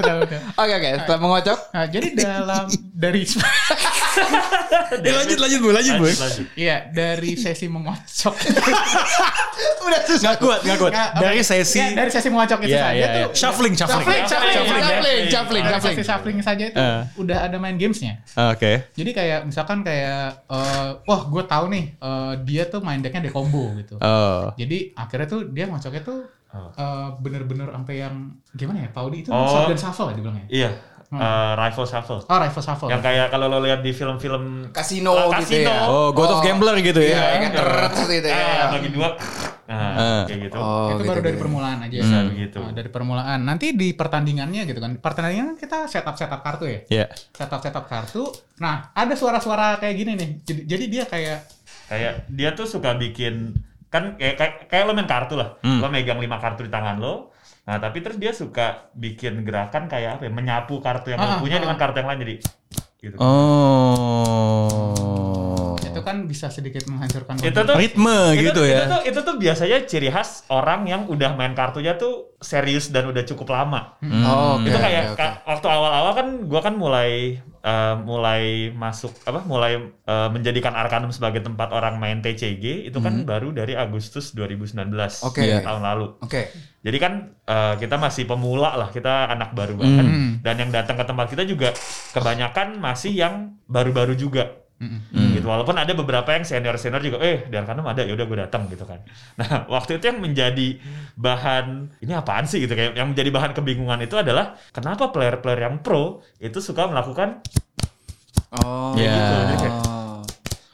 Speaker 3: Betul-betul.
Speaker 2: Oke, oke. Setelah mengocok.
Speaker 3: Nah, jadi dalam dari
Speaker 1: Eh, lanjut lanjut bu lanjut bu
Speaker 4: Lanjut, lanjut.
Speaker 3: iya dari sesi mengocok
Speaker 2: Udah susah.
Speaker 1: Gak kuat, gak kuat.
Speaker 3: Nggak,
Speaker 1: Dari
Speaker 3: oke.
Speaker 1: sesi
Speaker 3: Iya, dari sesi mengocok itu
Speaker 1: Iya,
Speaker 3: saja
Speaker 1: iya, iya.
Speaker 3: tuh
Speaker 1: Shuffling, shuffling.
Speaker 3: shuffling, shuffling,
Speaker 4: Shuffling,
Speaker 3: shuffling.
Speaker 2: Shuffling, shuffling,
Speaker 3: Dari
Speaker 2: shuffling.
Speaker 3: sesi shuffling saja itu
Speaker 1: Eh.
Speaker 3: udah ada main gamesnya
Speaker 1: Oke.
Speaker 3: jadi kayak misalkan kayak eh, wah gue tahu nih eh, dia tuh main decknya dekombo gitu
Speaker 1: Oh.
Speaker 3: jadi akhirnya tuh dia ngocoknya tuh eh, bener-bener sampai yang gimana ya Paudi itu
Speaker 4: Oh.
Speaker 3: shotgun shuffle ya dibilangnya
Speaker 4: Iya, eh, rifle shuffle.
Speaker 3: oh rifle shuffle
Speaker 4: Yang kayak kalau lo lihat di film-film
Speaker 2: Kasino
Speaker 4: Ah,
Speaker 2: gitu ya.
Speaker 4: kasino.
Speaker 1: Oh, God of Gambler Oh, gitu
Speaker 2: Iya,
Speaker 1: ya.
Speaker 2: kan teret gitu ya.
Speaker 4: Ah, bagi Ah, dua. Nah, kayak gitu.
Speaker 2: Oh,
Speaker 3: itu
Speaker 2: gitu,
Speaker 3: baru dari
Speaker 2: gitu.
Speaker 3: permulaan aja.
Speaker 4: Bisa
Speaker 3: Nah,
Speaker 4: begitu.
Speaker 3: dari permulaan. Nanti di pertandingannya gitu kan. Pertandingan kita setup setup kartu ya.
Speaker 1: Iya.
Speaker 3: Setup setup kartu. Nah, ada suara-suara kayak gini nih. Jadi, jadi dia kayak
Speaker 4: Kayak dia tuh suka bikin kan kayak kayak, kayak lo main kartu lah. Lo megang lima kartu di tangan lo. Nah, tapi terus dia suka bikin gerakan kayak apa ya, menyapu kartu yang
Speaker 3: Ah,
Speaker 4: lo
Speaker 3: ah.
Speaker 4: punya dengan kartu yang lain jadi gitu.
Speaker 1: Oh.
Speaker 3: itu kan bisa sedikit menghancurkan
Speaker 4: Itu
Speaker 3: kondisi.
Speaker 4: tuh
Speaker 1: Ritme
Speaker 4: itu,
Speaker 1: gitu
Speaker 4: itu
Speaker 1: ya.
Speaker 4: tuh- itu tuh biasanya ciri khas orang yang udah main kartunya tuh serius dan udah cukup lama.
Speaker 1: Hmm.
Speaker 2: Oh, oke,
Speaker 4: itu
Speaker 2: oke,
Speaker 4: kayak
Speaker 2: oke.
Speaker 4: ka- waktu awal-awal kan gua kan mulai eh, mulai masuk apa mulai eh, menjadikan Arkanum sebagai tempat orang main TCG itu kan baru dari Agustus 2019
Speaker 2: Oke.
Speaker 4: ya, tahun lalu.
Speaker 2: Oke.
Speaker 4: Jadi kan eh, kita masih pemula lah, kita anak baru banget dan yang datang ke tempat kita juga kebanyakan masih yang baru-baru juga.
Speaker 1: Hmm.
Speaker 4: Gitu walaupun ada beberapa yang senior-senior juga eh dan karena ada ya udah gue datang gitu kan. Nah, waktu itu yang menjadi bahan ini apaan sih gitu kayak yang menjadi bahan kebingungan itu adalah kenapa player-player yang pro itu suka melakukan
Speaker 2: Oh.
Speaker 1: Iya.
Speaker 4: gitu, jadi kayak-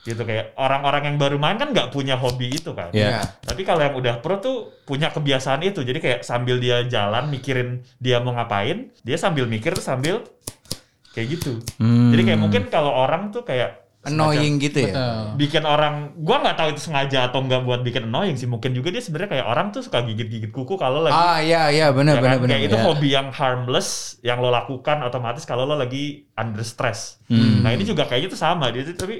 Speaker 4: gitu kayak orang-orang yang baru main kan nggak punya hobi itu kan.
Speaker 1: Iya.
Speaker 2: Iya.
Speaker 4: Tapi kalau yang udah pro tuh punya kebiasaan itu. Jadi kayak sambil dia jalan mikirin dia mau ngapain, dia sambil mikir tuh sambil kayak gitu.
Speaker 1: Hmm.
Speaker 4: Jadi kayak mungkin kalau orang tuh kayak semacam
Speaker 2: Annoying gitu ya.
Speaker 3: Betul.
Speaker 4: bikin orang gua nggak tahu itu sengaja atau nggak buat bikin annoying sih. Mungkin juga dia sebenarnya kayak orang tuh suka gigit-gigit kuku kalau lagi
Speaker 2: Ah, iya iya
Speaker 4: ya
Speaker 2: benar benar
Speaker 4: kan?
Speaker 2: benar.
Speaker 4: kayak itu
Speaker 1: Iya.
Speaker 4: hobi yang harmless yang lo lakukan otomatis kalau lo lagi under stress.
Speaker 2: Hmm.
Speaker 4: Nah ini juga kayak gitu sama dia tuh, tapi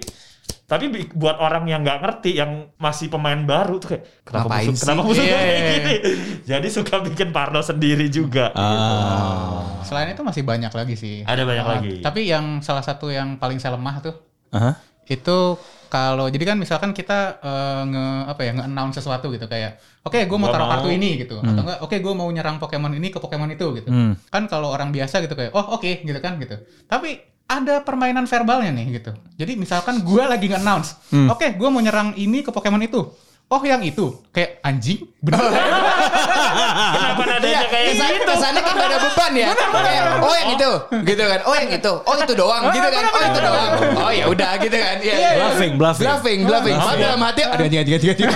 Speaker 4: tapi bi- buat orang yang nggak ngerti yang masih pemain baru tuh kayak kenapa
Speaker 2: Ngapain
Speaker 4: musuh
Speaker 2: sih?
Speaker 4: kenapa musuh gue
Speaker 2: Iya,
Speaker 4: kayak
Speaker 2: iya,
Speaker 4: gini. Jadi suka bikin parno sendiri juga.
Speaker 1: Ah.
Speaker 3: Selain itu masih banyak lagi sih.
Speaker 4: Ada banyak
Speaker 3: Ah,
Speaker 4: lagi.
Speaker 3: Tapi yang salah satu yang paling saya lemah tuh
Speaker 1: Aha.
Speaker 3: itu kalau jadi kan misalkan kita eh, nge apa ya nge-announce sesuatu gitu kayak oke gue mau
Speaker 4: Gua
Speaker 3: taruh
Speaker 4: mau-
Speaker 3: kartu ini gitu atau enggak oke gue mau nyerang Pokemon ini ke Pokemon itu gitu
Speaker 1: Hmm.
Speaker 3: kan kalau orang biasa gitu kayak oh oke gitu kan gitu tapi ada permainan verbalnya nih gitu jadi misalkan gue lagi nge-announce
Speaker 1: Hmm.
Speaker 3: oke gue mau nyerang ini ke Pokemon itu oh yang itu kayak anjing
Speaker 4: Iya,
Speaker 3: bener
Speaker 2: Ah,
Speaker 4: Kenapa nadanya kayak
Speaker 2: kesan,
Speaker 4: gitu?
Speaker 2: kesannya Iya, kan gak ada beban ya. Kayak, oh yang itu, gitu kan. Oh yang itu, oh itu doang, gitu kan. Oh itu doang. Oh ya udah, gitu kan. Iya.
Speaker 1: Bluffing, bluffing. Iya,
Speaker 2: Bluffing, bluffing. Padahal dalam hati ada tiga tiga tiga tiga.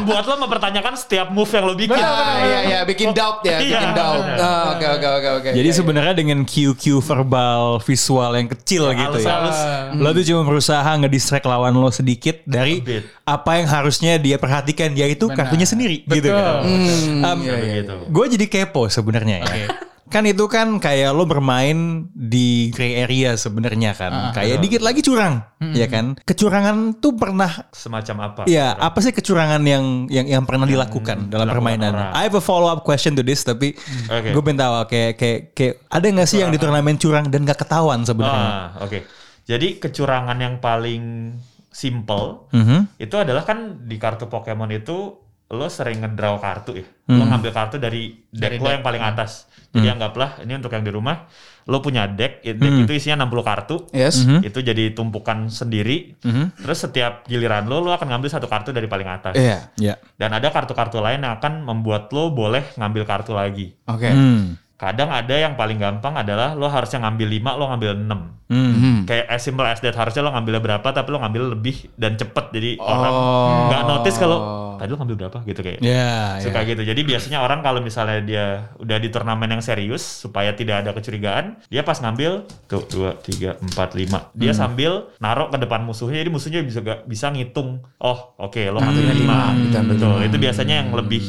Speaker 4: Membuat lo mempertanyakan setiap move yang lo bikin.
Speaker 2: Ah, Iya iya, bikin doubt ya, bikin
Speaker 4: Iya.
Speaker 2: doubt. Ah, Oke oke oke oke.
Speaker 1: Jadi sebenarnya dengan QQ verbal visual yang kecil gitu ya.
Speaker 4: Halus-halus.
Speaker 3: eh,
Speaker 1: Lo tuh cuma berusaha ngedistract lawan lo sedikit dari
Speaker 4: Bit.
Speaker 1: apa yang harusnya dia perhatikan yaitu
Speaker 3: Benar.
Speaker 1: kartunya sendiri gitu
Speaker 3: Betul.
Speaker 1: kan.
Speaker 2: Hmm.
Speaker 4: Iya,
Speaker 1: Um,
Speaker 2: iya,
Speaker 4: Kayak gitu.
Speaker 1: Gue jadi kepo sebenarnya ya. Kan itu kan kayak lo bermain di gray area sebenarnya kan. kayak dikit lagi curang, ya kan. Kecurangan tuh pernah
Speaker 4: Semacam apa?
Speaker 2: Iya,
Speaker 4: Hmm,
Speaker 1: ya apa sih kecurangan yang yang yang pernah dilakukan dalam permainan?
Speaker 4: orang. Hmm.
Speaker 1: I have a follow up question to this tapi
Speaker 4: Oke.
Speaker 1: gue pengen tahu kayak kayak kayak ada nggak sih yang di turnamen curang dan gak ketahuan sebenarnya?
Speaker 4: Ah, oke. Jadi kecurangan yang paling simple
Speaker 1: Mhm.
Speaker 4: itu adalah kan di kartu Pokemon itu lo sering ngedraw kartu ya. Lo ngambil kartu dari
Speaker 3: Dari
Speaker 4: deck lo yang paling atas. Jadi anggaplah ini untuk yang di rumah, lo punya deck, deck itu isinya 60 kartu.
Speaker 2: Yes.
Speaker 4: Itu jadi tumpukan sendiri. Terus setiap giliran lo lo akan ngambil satu kartu dari paling atas.
Speaker 2: Iya.
Speaker 1: Ya.
Speaker 4: Dan ada kartu-kartu lain yang akan membuat lo boleh ngambil kartu lagi.
Speaker 2: Oke.
Speaker 1: Hmm.
Speaker 4: Kadang ada yang paling gampang adalah lo harusnya ngambil 5, lo ngambil 6
Speaker 1: Hmm.
Speaker 4: kayak as simple as that harusnya lo ngambilnya berapa tapi lo ngambil lebih dan cepet jadi orang
Speaker 3: Oh.
Speaker 4: nggak notice kalau tadi lo ngambil berapa gitu
Speaker 3: Iya,
Speaker 4: kayak
Speaker 1: Ya. ya.
Speaker 4: suka gitu jadi biasanya orang kalau misalnya dia udah di turnamen yang serius supaya tidak ada kecurigaan dia pas ngambil tuh dua tiga empat lima dia
Speaker 3: Hmm.
Speaker 4: sambil naruh ke depan musuhnya jadi musuhnya bisa gak, bisa ngitung oh oke lo ngambilnya
Speaker 3: Hmm.
Speaker 4: lima
Speaker 2: gitu,
Speaker 4: betul itu biasanya yang lebih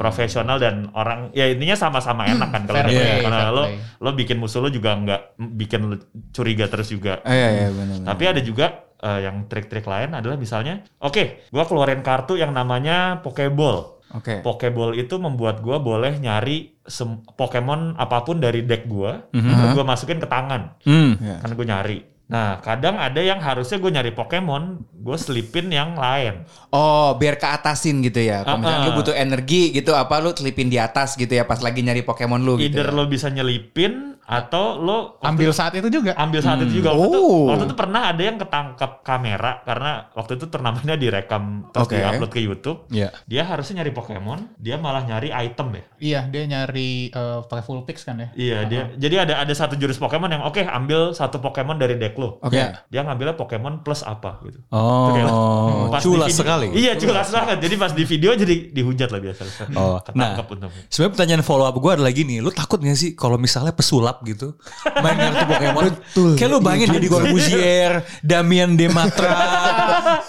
Speaker 4: profesional dan orang ya intinya sama-sama enak kan kalau
Speaker 3: Hmm. Fair
Speaker 4: ada-
Speaker 3: play,
Speaker 4: karena
Speaker 3: fair
Speaker 4: lo
Speaker 3: play.
Speaker 4: lo bikin musuh lo juga nggak bikin lo curiga terus juga
Speaker 2: Iya iya benar.
Speaker 4: tapi ada juga eh, yang trik-trik lain adalah misalnya, oke, gua keluarin kartu yang namanya Pokeball.
Speaker 2: Oke.
Speaker 4: Pokeball itu membuat gua boleh nyari sem- Pokemon apapun dari deck gua,
Speaker 2: Mhm.
Speaker 4: terus gua masukin ke tangan.
Speaker 1: Hmm.
Speaker 2: Iya.
Speaker 4: Kan gue nyari. Nah, kadang ada yang harusnya gue nyari Pokemon, gue selipin yang lain.
Speaker 2: Oh, biar ke atasin gitu ya. Kalau misalnya
Speaker 4: Ah,
Speaker 2: lu
Speaker 4: ah.
Speaker 2: butuh energi gitu, apa lu telipin di atas gitu ya pas lagi nyari Pokemon lu gitu.
Speaker 4: Either
Speaker 2: ya.
Speaker 4: lo bisa nyelipin atau lo waktu-
Speaker 3: Ambil saat itu juga.
Speaker 4: ambil saat itu juga waktu, itu,
Speaker 1: Oh.
Speaker 4: waktu itu pernah ada yang ketangkap kamera karena waktu itu turnamennya direkam terus
Speaker 2: Oke.
Speaker 4: diupload ke YouTube.
Speaker 1: Iya.
Speaker 4: Dia harusnya nyari Pokemon, dia malah nyari item ya.
Speaker 3: Iya, dia nyari eh, pakai full picks kan ya.
Speaker 4: Iya dia. Jadi ada ada satu jurus Pokemon yang oke ambil satu Pokemon dari deck lo.
Speaker 2: Oke.
Speaker 1: Ya.
Speaker 4: Dia ngambilnya Pokemon plus apa gitu. Itu kayak,
Speaker 1: Oh,
Speaker 4: pas di
Speaker 1: culas
Speaker 4: video-
Speaker 1: sekali.
Speaker 4: Iya culas banget. Jadi pas di video jadi dihujat lah biasa.
Speaker 1: Oh,
Speaker 4: Ketangkep untungnya.
Speaker 1: Sebenarnya pertanyaan follow up gue adalah gini, lu takut gak sih kalau misalnya pesulap gitu main kartu Pokemon?
Speaker 2: Betul.
Speaker 1: Kayak lu bayangin
Speaker 2: Iya
Speaker 1: jadi
Speaker 2: juga.
Speaker 1: Corbusier, Damian Dematra.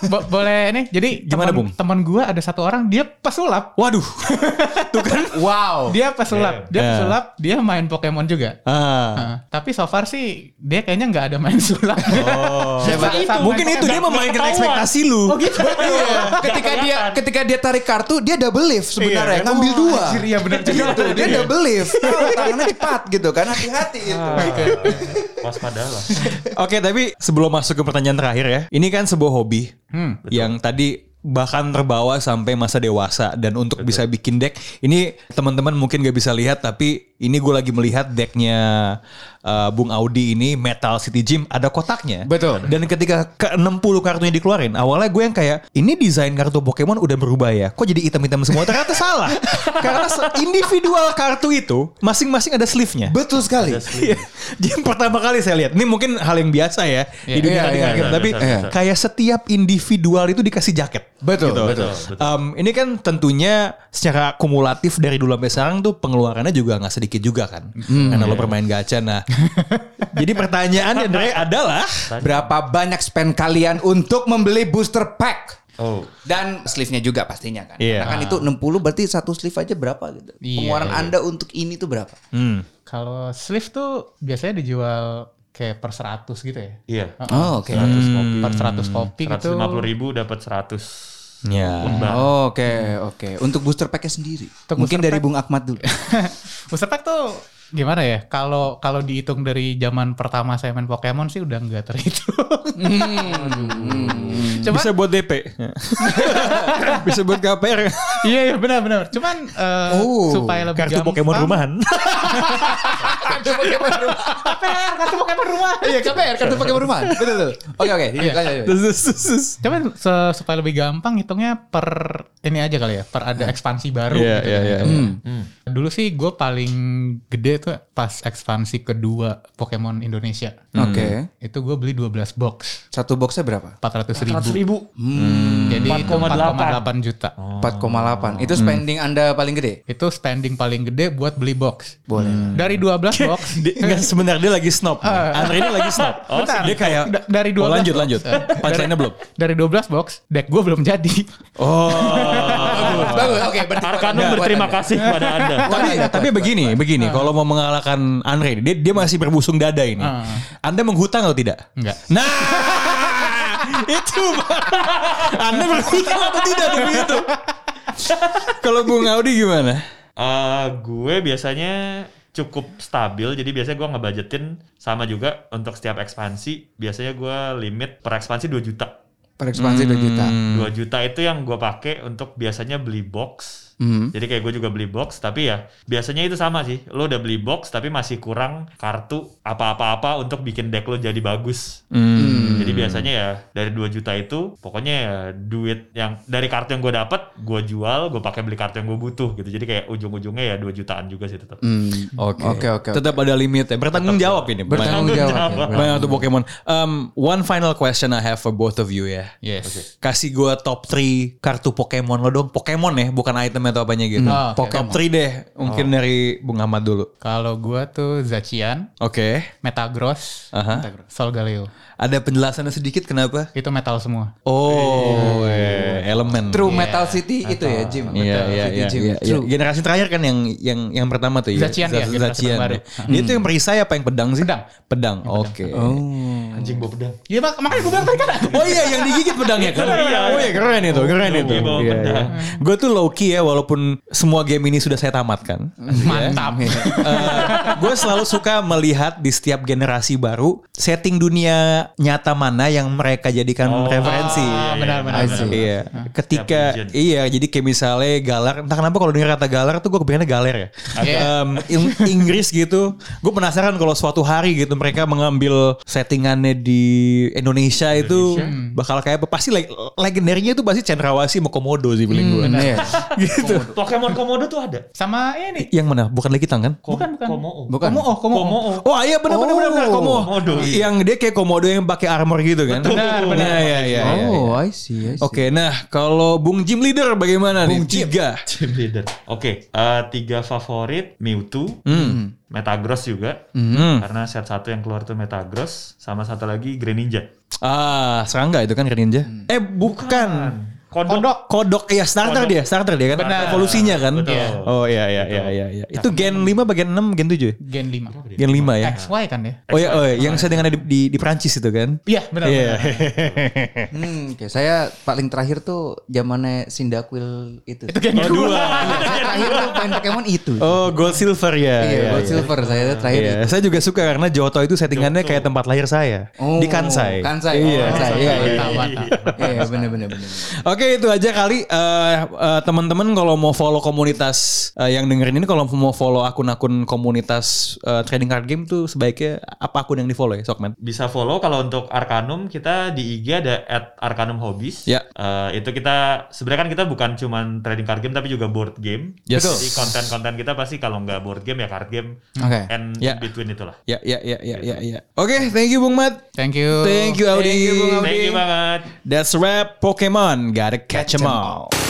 Speaker 3: Bo- boleh nih. Jadi
Speaker 1: Gimana, Bung?
Speaker 3: teman teman gua ada satu orang dia pesulap.
Speaker 1: Waduh, tuh kan.
Speaker 2: Wow.
Speaker 3: Dia pesulap. Dia
Speaker 1: Yeah.
Speaker 3: pesulap, dia main Pokemon juga.
Speaker 1: Iya. Ah.
Speaker 3: Heeh. tapi so far sih dia kayaknya nggak ada main sulap.
Speaker 1: Oh.
Speaker 3: Siapa-
Speaker 4: Itu.
Speaker 3: siapa-
Speaker 1: Mungkin itu dia
Speaker 4: Nggak-
Speaker 1: memainkan
Speaker 4: nggak ketahuan.
Speaker 1: ekspektasi lu.
Speaker 3: Oh gitu.
Speaker 2: ketika dia
Speaker 4: kelihatan.
Speaker 2: ketika dia tarik kartu dia double lift sebenarnya
Speaker 4: Iya.
Speaker 2: ngambil dua
Speaker 3: Anjir, iya benar juga.
Speaker 2: gitu dia
Speaker 3: Iya.
Speaker 2: double lift Tahu, tangannya cepat gitu kan hati-hati gitu
Speaker 4: Ah, Waspada lah.
Speaker 1: Oke, tapi sebelum masuk ke pertanyaan terakhir ya. Ini kan sebuah hobi
Speaker 3: Hmm.
Speaker 1: yang tadi bahkan terbawa sampai masa dewasa dan untuk bisa bikin deck ini teman-teman mungkin gak bisa lihat tapi ini gue lagi melihat decknya uh, Bung Audi ini Metal City Gym ada kotaknya
Speaker 2: Betul.
Speaker 1: dan ketika ke 60 kartunya dikeluarin awalnya gue yang kayak ini desain kartu Pokemon udah berubah ya kok jadi item-item semua ternyata salah karena se- individual kartu itu masing-masing ada sleeve-nya
Speaker 2: betul sekali
Speaker 1: Iya. Jadi yang pertama kali saya lihat, ini mungkin hal yang biasa ya di
Speaker 3: Iya,
Speaker 1: dunia
Speaker 2: iya,
Speaker 1: kartu-kartu,
Speaker 4: iya, iya,
Speaker 1: tapi
Speaker 4: biasa, biasa.
Speaker 1: kayak setiap individual itu dikasih jaket.
Speaker 2: betul
Speaker 1: Gitu,
Speaker 2: betul
Speaker 4: Betul, betul.
Speaker 1: Em, ini kan tentunya secara kumulatif dari dulu sampai sekarang tuh pengeluarannya juga nggak sedikit juga kan, karena lo bermain gacha. Nah, jadi pertanyaannya Andre adalah,
Speaker 2: berapa banyak spend kalian untuk membeli booster pack
Speaker 4: Oh.
Speaker 2: dan sleeve-nya juga pastinya kan.
Speaker 1: Iya.
Speaker 2: Karena kan itu 60 berarti satu sleeve aja berapa gitu.
Speaker 3: Iya,
Speaker 2: Pengeluaran Anda untuk ini tuh berapa?
Speaker 1: hmm,
Speaker 3: Kalau sleeve tuh biasanya dijual kayak per 100 gitu ya.
Speaker 4: Iya.
Speaker 2: Oh, oke.
Speaker 4: 100
Speaker 1: Hmm.
Speaker 4: kopi.
Speaker 3: Per 100 kopi gitu.
Speaker 4: 150 ribu dapat 100
Speaker 1: ya.
Speaker 4: lembar.
Speaker 2: Oke, oke. Untuk booster pack-nya sendiri.
Speaker 3: Untuk
Speaker 2: Mungkin
Speaker 3: booster
Speaker 2: dari
Speaker 3: pack-
Speaker 2: Bung Akmat dulu.
Speaker 3: Booster Pack tuh gimana ya? Kalau kalau dihitung dari zaman pertama saya main Pokemon sih udah nggak terhitung. Cuman-
Speaker 1: Bisa buat DP, bisa buat KPR,
Speaker 3: Iya iya benar-benar. Cuman eh,
Speaker 2: Oh,
Speaker 3: supaya lebih
Speaker 1: kartu
Speaker 3: gampang.
Speaker 1: Pokemon rumahan.
Speaker 3: KPR, kartu Pokemon rumah.
Speaker 2: Iya, KPR kartu pakai perumahan. Betul betul. Oke, oke. Lanjut, lanjut.
Speaker 1: Terus, terus, terus, terus.
Speaker 3: Cuman se- supaya lebih gampang hitungnya per ini aja kali ya, per ada ekspansi baru
Speaker 1: Iya,
Speaker 3: gitu.
Speaker 1: iya, iya.
Speaker 4: Hmm.
Speaker 3: Dulu sih gue paling gede tuh pas ekspansi kedua Pokemon Indonesia.
Speaker 2: Oke.
Speaker 3: Itu gue beli 12 box.
Speaker 2: Satu boxnya berapa? Hmm,
Speaker 3: 400 ribu.
Speaker 4: 100 ribu.
Speaker 3: Jadi itu
Speaker 4: 4,8.
Speaker 3: 4,8 juta.
Speaker 2: Oh. 4,8.
Speaker 1: Hmm.
Speaker 2: Itu spending Anda paling gede?
Speaker 3: Itu spending paling gede buat beli box.
Speaker 1: Hmm.
Speaker 2: Boleh.
Speaker 3: Dari 12 box.
Speaker 1: Dia, enggak, sebenarnya dia lagi snob. Andre ini lagi snob.
Speaker 3: Ah. Bentar.
Speaker 1: Dia kayak
Speaker 3: Da- dari
Speaker 1: oh,
Speaker 3: 12
Speaker 1: lanjut
Speaker 3: box.
Speaker 1: lanjut. Punchline-nya belum.
Speaker 3: Dari 12 box, deck gue belum jadi.
Speaker 2: Bagus, bagus. Oke, berarti
Speaker 4: Arkanum berterima kasih kepada Anda.
Speaker 1: Tapi tapi begini, begini, kalau mau mengalahkan Andre, dia dia masih berbusung dada ini.
Speaker 3: Ah.
Speaker 1: Anda menghutang atau tidak?
Speaker 2: Hmm.
Speaker 3: Enggak.
Speaker 1: Nah, itu Pak. Anda berhutang atau tidak demi itu? Kalau Bung Audi gimana?
Speaker 4: Eh, gue biasanya cukup stabil, jadi biasanya gue ngebudgetin sama juga untuk setiap ekspansi. Biasanya gue limit per ekspansi 2 juta.
Speaker 2: Per ekspansi 2 juta.
Speaker 1: Hmm.
Speaker 3: Hmm.
Speaker 4: 2 juta itu yang gue pakai untuk biasanya beli box.
Speaker 3: Hmm.
Speaker 4: Jadi kayak gue juga beli box, tapi ya biasanya itu sama sih. Lo udah beli box, tapi masih kurang kartu apa-apa-apa untuk bikin deck lo jadi bagus.
Speaker 3: Hmm.
Speaker 4: Jadi biasanya ya dari 2 juta itu, pokoknya ya duit yang dari kartu yang gue dapet, gue jual, gue pakai beli kartu yang gue butuh gitu. Jadi kayak ujung-ujungnya ya 2 jutaan juga sih tetap.
Speaker 2: Hmm.
Speaker 3: Hmm.
Speaker 1: Oke.
Speaker 2: Oke, oke, oke.
Speaker 1: Tetap ada limitnya. Bertanggung jawab ini.
Speaker 2: Bertanggung
Speaker 1: Banyak-
Speaker 2: jawab. ya.
Speaker 1: Banyak untuk Pokemon. Um, one final question I have for both of you ya.
Speaker 3: Yes.
Speaker 1: kasih gua top 3 kartu Pokemon lo dong. Pokemon ya, bukan item atau apanya gitu.
Speaker 3: Hmm, oke.
Speaker 1: Top 3 deh, mungkin dari Bung Ahmad dulu.
Speaker 3: Kalau gue tuh Zacian,
Speaker 1: Oke.
Speaker 3: Metagross,
Speaker 1: Aha.
Speaker 3: Metagross, Solgaleo.
Speaker 1: Ada penjelasannya sedikit kenapa?
Speaker 3: Itu metal semua.
Speaker 1: Oh, eh, elemen.
Speaker 2: True Metal City itu ya, Jim.
Speaker 1: Iya,
Speaker 2: Metal
Speaker 1: iya,
Speaker 2: City
Speaker 1: iya,
Speaker 2: Gym.
Speaker 1: iya, iya.
Speaker 2: True.
Speaker 1: Generasi terakhir kan yang yang yang pertama tuh ya.
Speaker 3: Zacian ya, generasi
Speaker 1: Zacian.
Speaker 3: terbaru.
Speaker 1: Dia tuh yang perisai apa yang pedang sih?
Speaker 3: Pedang.
Speaker 1: Pedang. Oke.
Speaker 2: Oh. Hmm.
Speaker 4: Anjing bawa pedang.
Speaker 3: Iya mak makanya gue bilang tadi kan.
Speaker 1: Oh iya yang digigit pedangnya kan.
Speaker 4: Itu, iya.
Speaker 1: Oh iya keren itu, keren
Speaker 4: Iya,
Speaker 1: itu.
Speaker 4: bawa
Speaker 1: Iya,
Speaker 4: pedang.
Speaker 1: Gue tuh low key ya walaupun semua game ini sudah saya tamatkan. Iya.
Speaker 3: Mantap.
Speaker 1: gue Eh, selalu suka melihat di setiap generasi baru setting dunia nyata mana yang mereka jadikan referensi.
Speaker 3: Ah,
Speaker 2: I
Speaker 3: benar-benar.
Speaker 2: see.
Speaker 3: benar.
Speaker 1: Iya, ketika
Speaker 4: Setiap region.
Speaker 1: iya jadi kayak misalnya galar, entah kenapa kalau dengar kata galar tuh gue kepikirannya galer ya.
Speaker 3: Oke.
Speaker 1: Em, Ing- Inggris gitu, gue penasaran kalau suatu hari gitu mereka mengambil settingannya di Indonesia, itu bakal kayak apa? Pasti leg- legendernya itu pasti Cendrawasi sama Komodo sih paling
Speaker 3: Hmm,
Speaker 1: gue.
Speaker 2: Iya.
Speaker 1: gitu.
Speaker 4: Pokemon Komodo tuh ada.
Speaker 3: Sama ini.
Speaker 1: Yang mana? Bukan lagi tangan?
Speaker 4: Ko-
Speaker 3: Bukan, bukan.
Speaker 4: Komoo.
Speaker 2: Bukan.
Speaker 3: Komo oh, komo.
Speaker 4: Komoo.
Speaker 1: Oh iya benar benar benar benar, Komo.
Speaker 4: Komodo, iya.
Speaker 1: Yang dia kayak komodo yang pakai armor gitu kan.
Speaker 4: Betul.
Speaker 1: Benar benar. Iya iya iya. iya.
Speaker 2: Oh, I see. I see.
Speaker 1: Oke, nah kalau Bung Jim Leader bagaimana nih? Tiga.
Speaker 4: Team leader. Oke, eh, tiga favorit Mewtwo,
Speaker 1: Hmm.
Speaker 4: Metagross juga.
Speaker 1: Hmm.
Speaker 4: Karena set satu yang keluar tuh Metagross, sama satu lagi Greninja.
Speaker 1: Ah, serangga itu kan Greninja. Eh, bukan.
Speaker 4: Kodok.
Speaker 1: Kodok ya starter
Speaker 4: Kodok.
Speaker 1: dia, starter dia kan.
Speaker 4: Benar.
Speaker 1: Evolusinya kan.
Speaker 4: Betul.
Speaker 1: Iya. Oh iya iya iya iya iya. Itu gen 5 bagian 6 gen 7?
Speaker 3: Gen 5.
Speaker 1: Gen 5 ya.
Speaker 3: XY kan ya?
Speaker 1: Oh iya, oh iya, yang saya dengan di, di di Prancis itu kan.
Speaker 3: Iya, benar.
Speaker 1: Iya.
Speaker 3: benar.
Speaker 2: Hmm, oke. saya paling terakhir tuh zamannya Cyndaquil itu. Itu
Speaker 1: Gen 2.
Speaker 2: terakhir tuh main Pokemon itu.
Speaker 1: Oh, gold silver ya.
Speaker 2: iya,
Speaker 1: iya,
Speaker 2: Gold
Speaker 1: iya.
Speaker 2: Silver saya tuh terakhir.
Speaker 1: Iya, saya juga suka karena Johto itu settingannya kayak tempat lahir saya
Speaker 2: Oh,
Speaker 1: di Kansai.
Speaker 2: Kansai. Oh,
Speaker 1: Iya.
Speaker 2: Kansai.
Speaker 1: Iya.
Speaker 2: Iya.
Speaker 3: Mantap, mantap.
Speaker 2: Iya, benar benar benar.
Speaker 1: Oke itu aja kali eh, eh, teman-teman kalau mau follow komunitas eh, yang dengerin ini kalau mau follow akun-akun komunitas eh, trading card game tuh sebaiknya apa akun yang di follow ya Sokman?
Speaker 4: Bisa follow kalau untuk Arcanum kita di IG ada at Arcanum Hobbies.
Speaker 1: Ya.
Speaker 4: Eh, itu kita sebenarnya kan kita bukan cuman trading card game tapi juga board game.
Speaker 1: Yes.
Speaker 4: Jadi konten-konten kita pasti kalau nggak board game ya card game
Speaker 2: Oke.
Speaker 4: and
Speaker 1: Ya.
Speaker 4: in between itulah.
Speaker 1: Ya ya ya ya ya ya. Oke thank you Bung Mat.
Speaker 3: Thank you.
Speaker 1: Thank you Audi.
Speaker 4: Thank you banget.
Speaker 1: That's a wrap Pokemon gotta catch 'em all.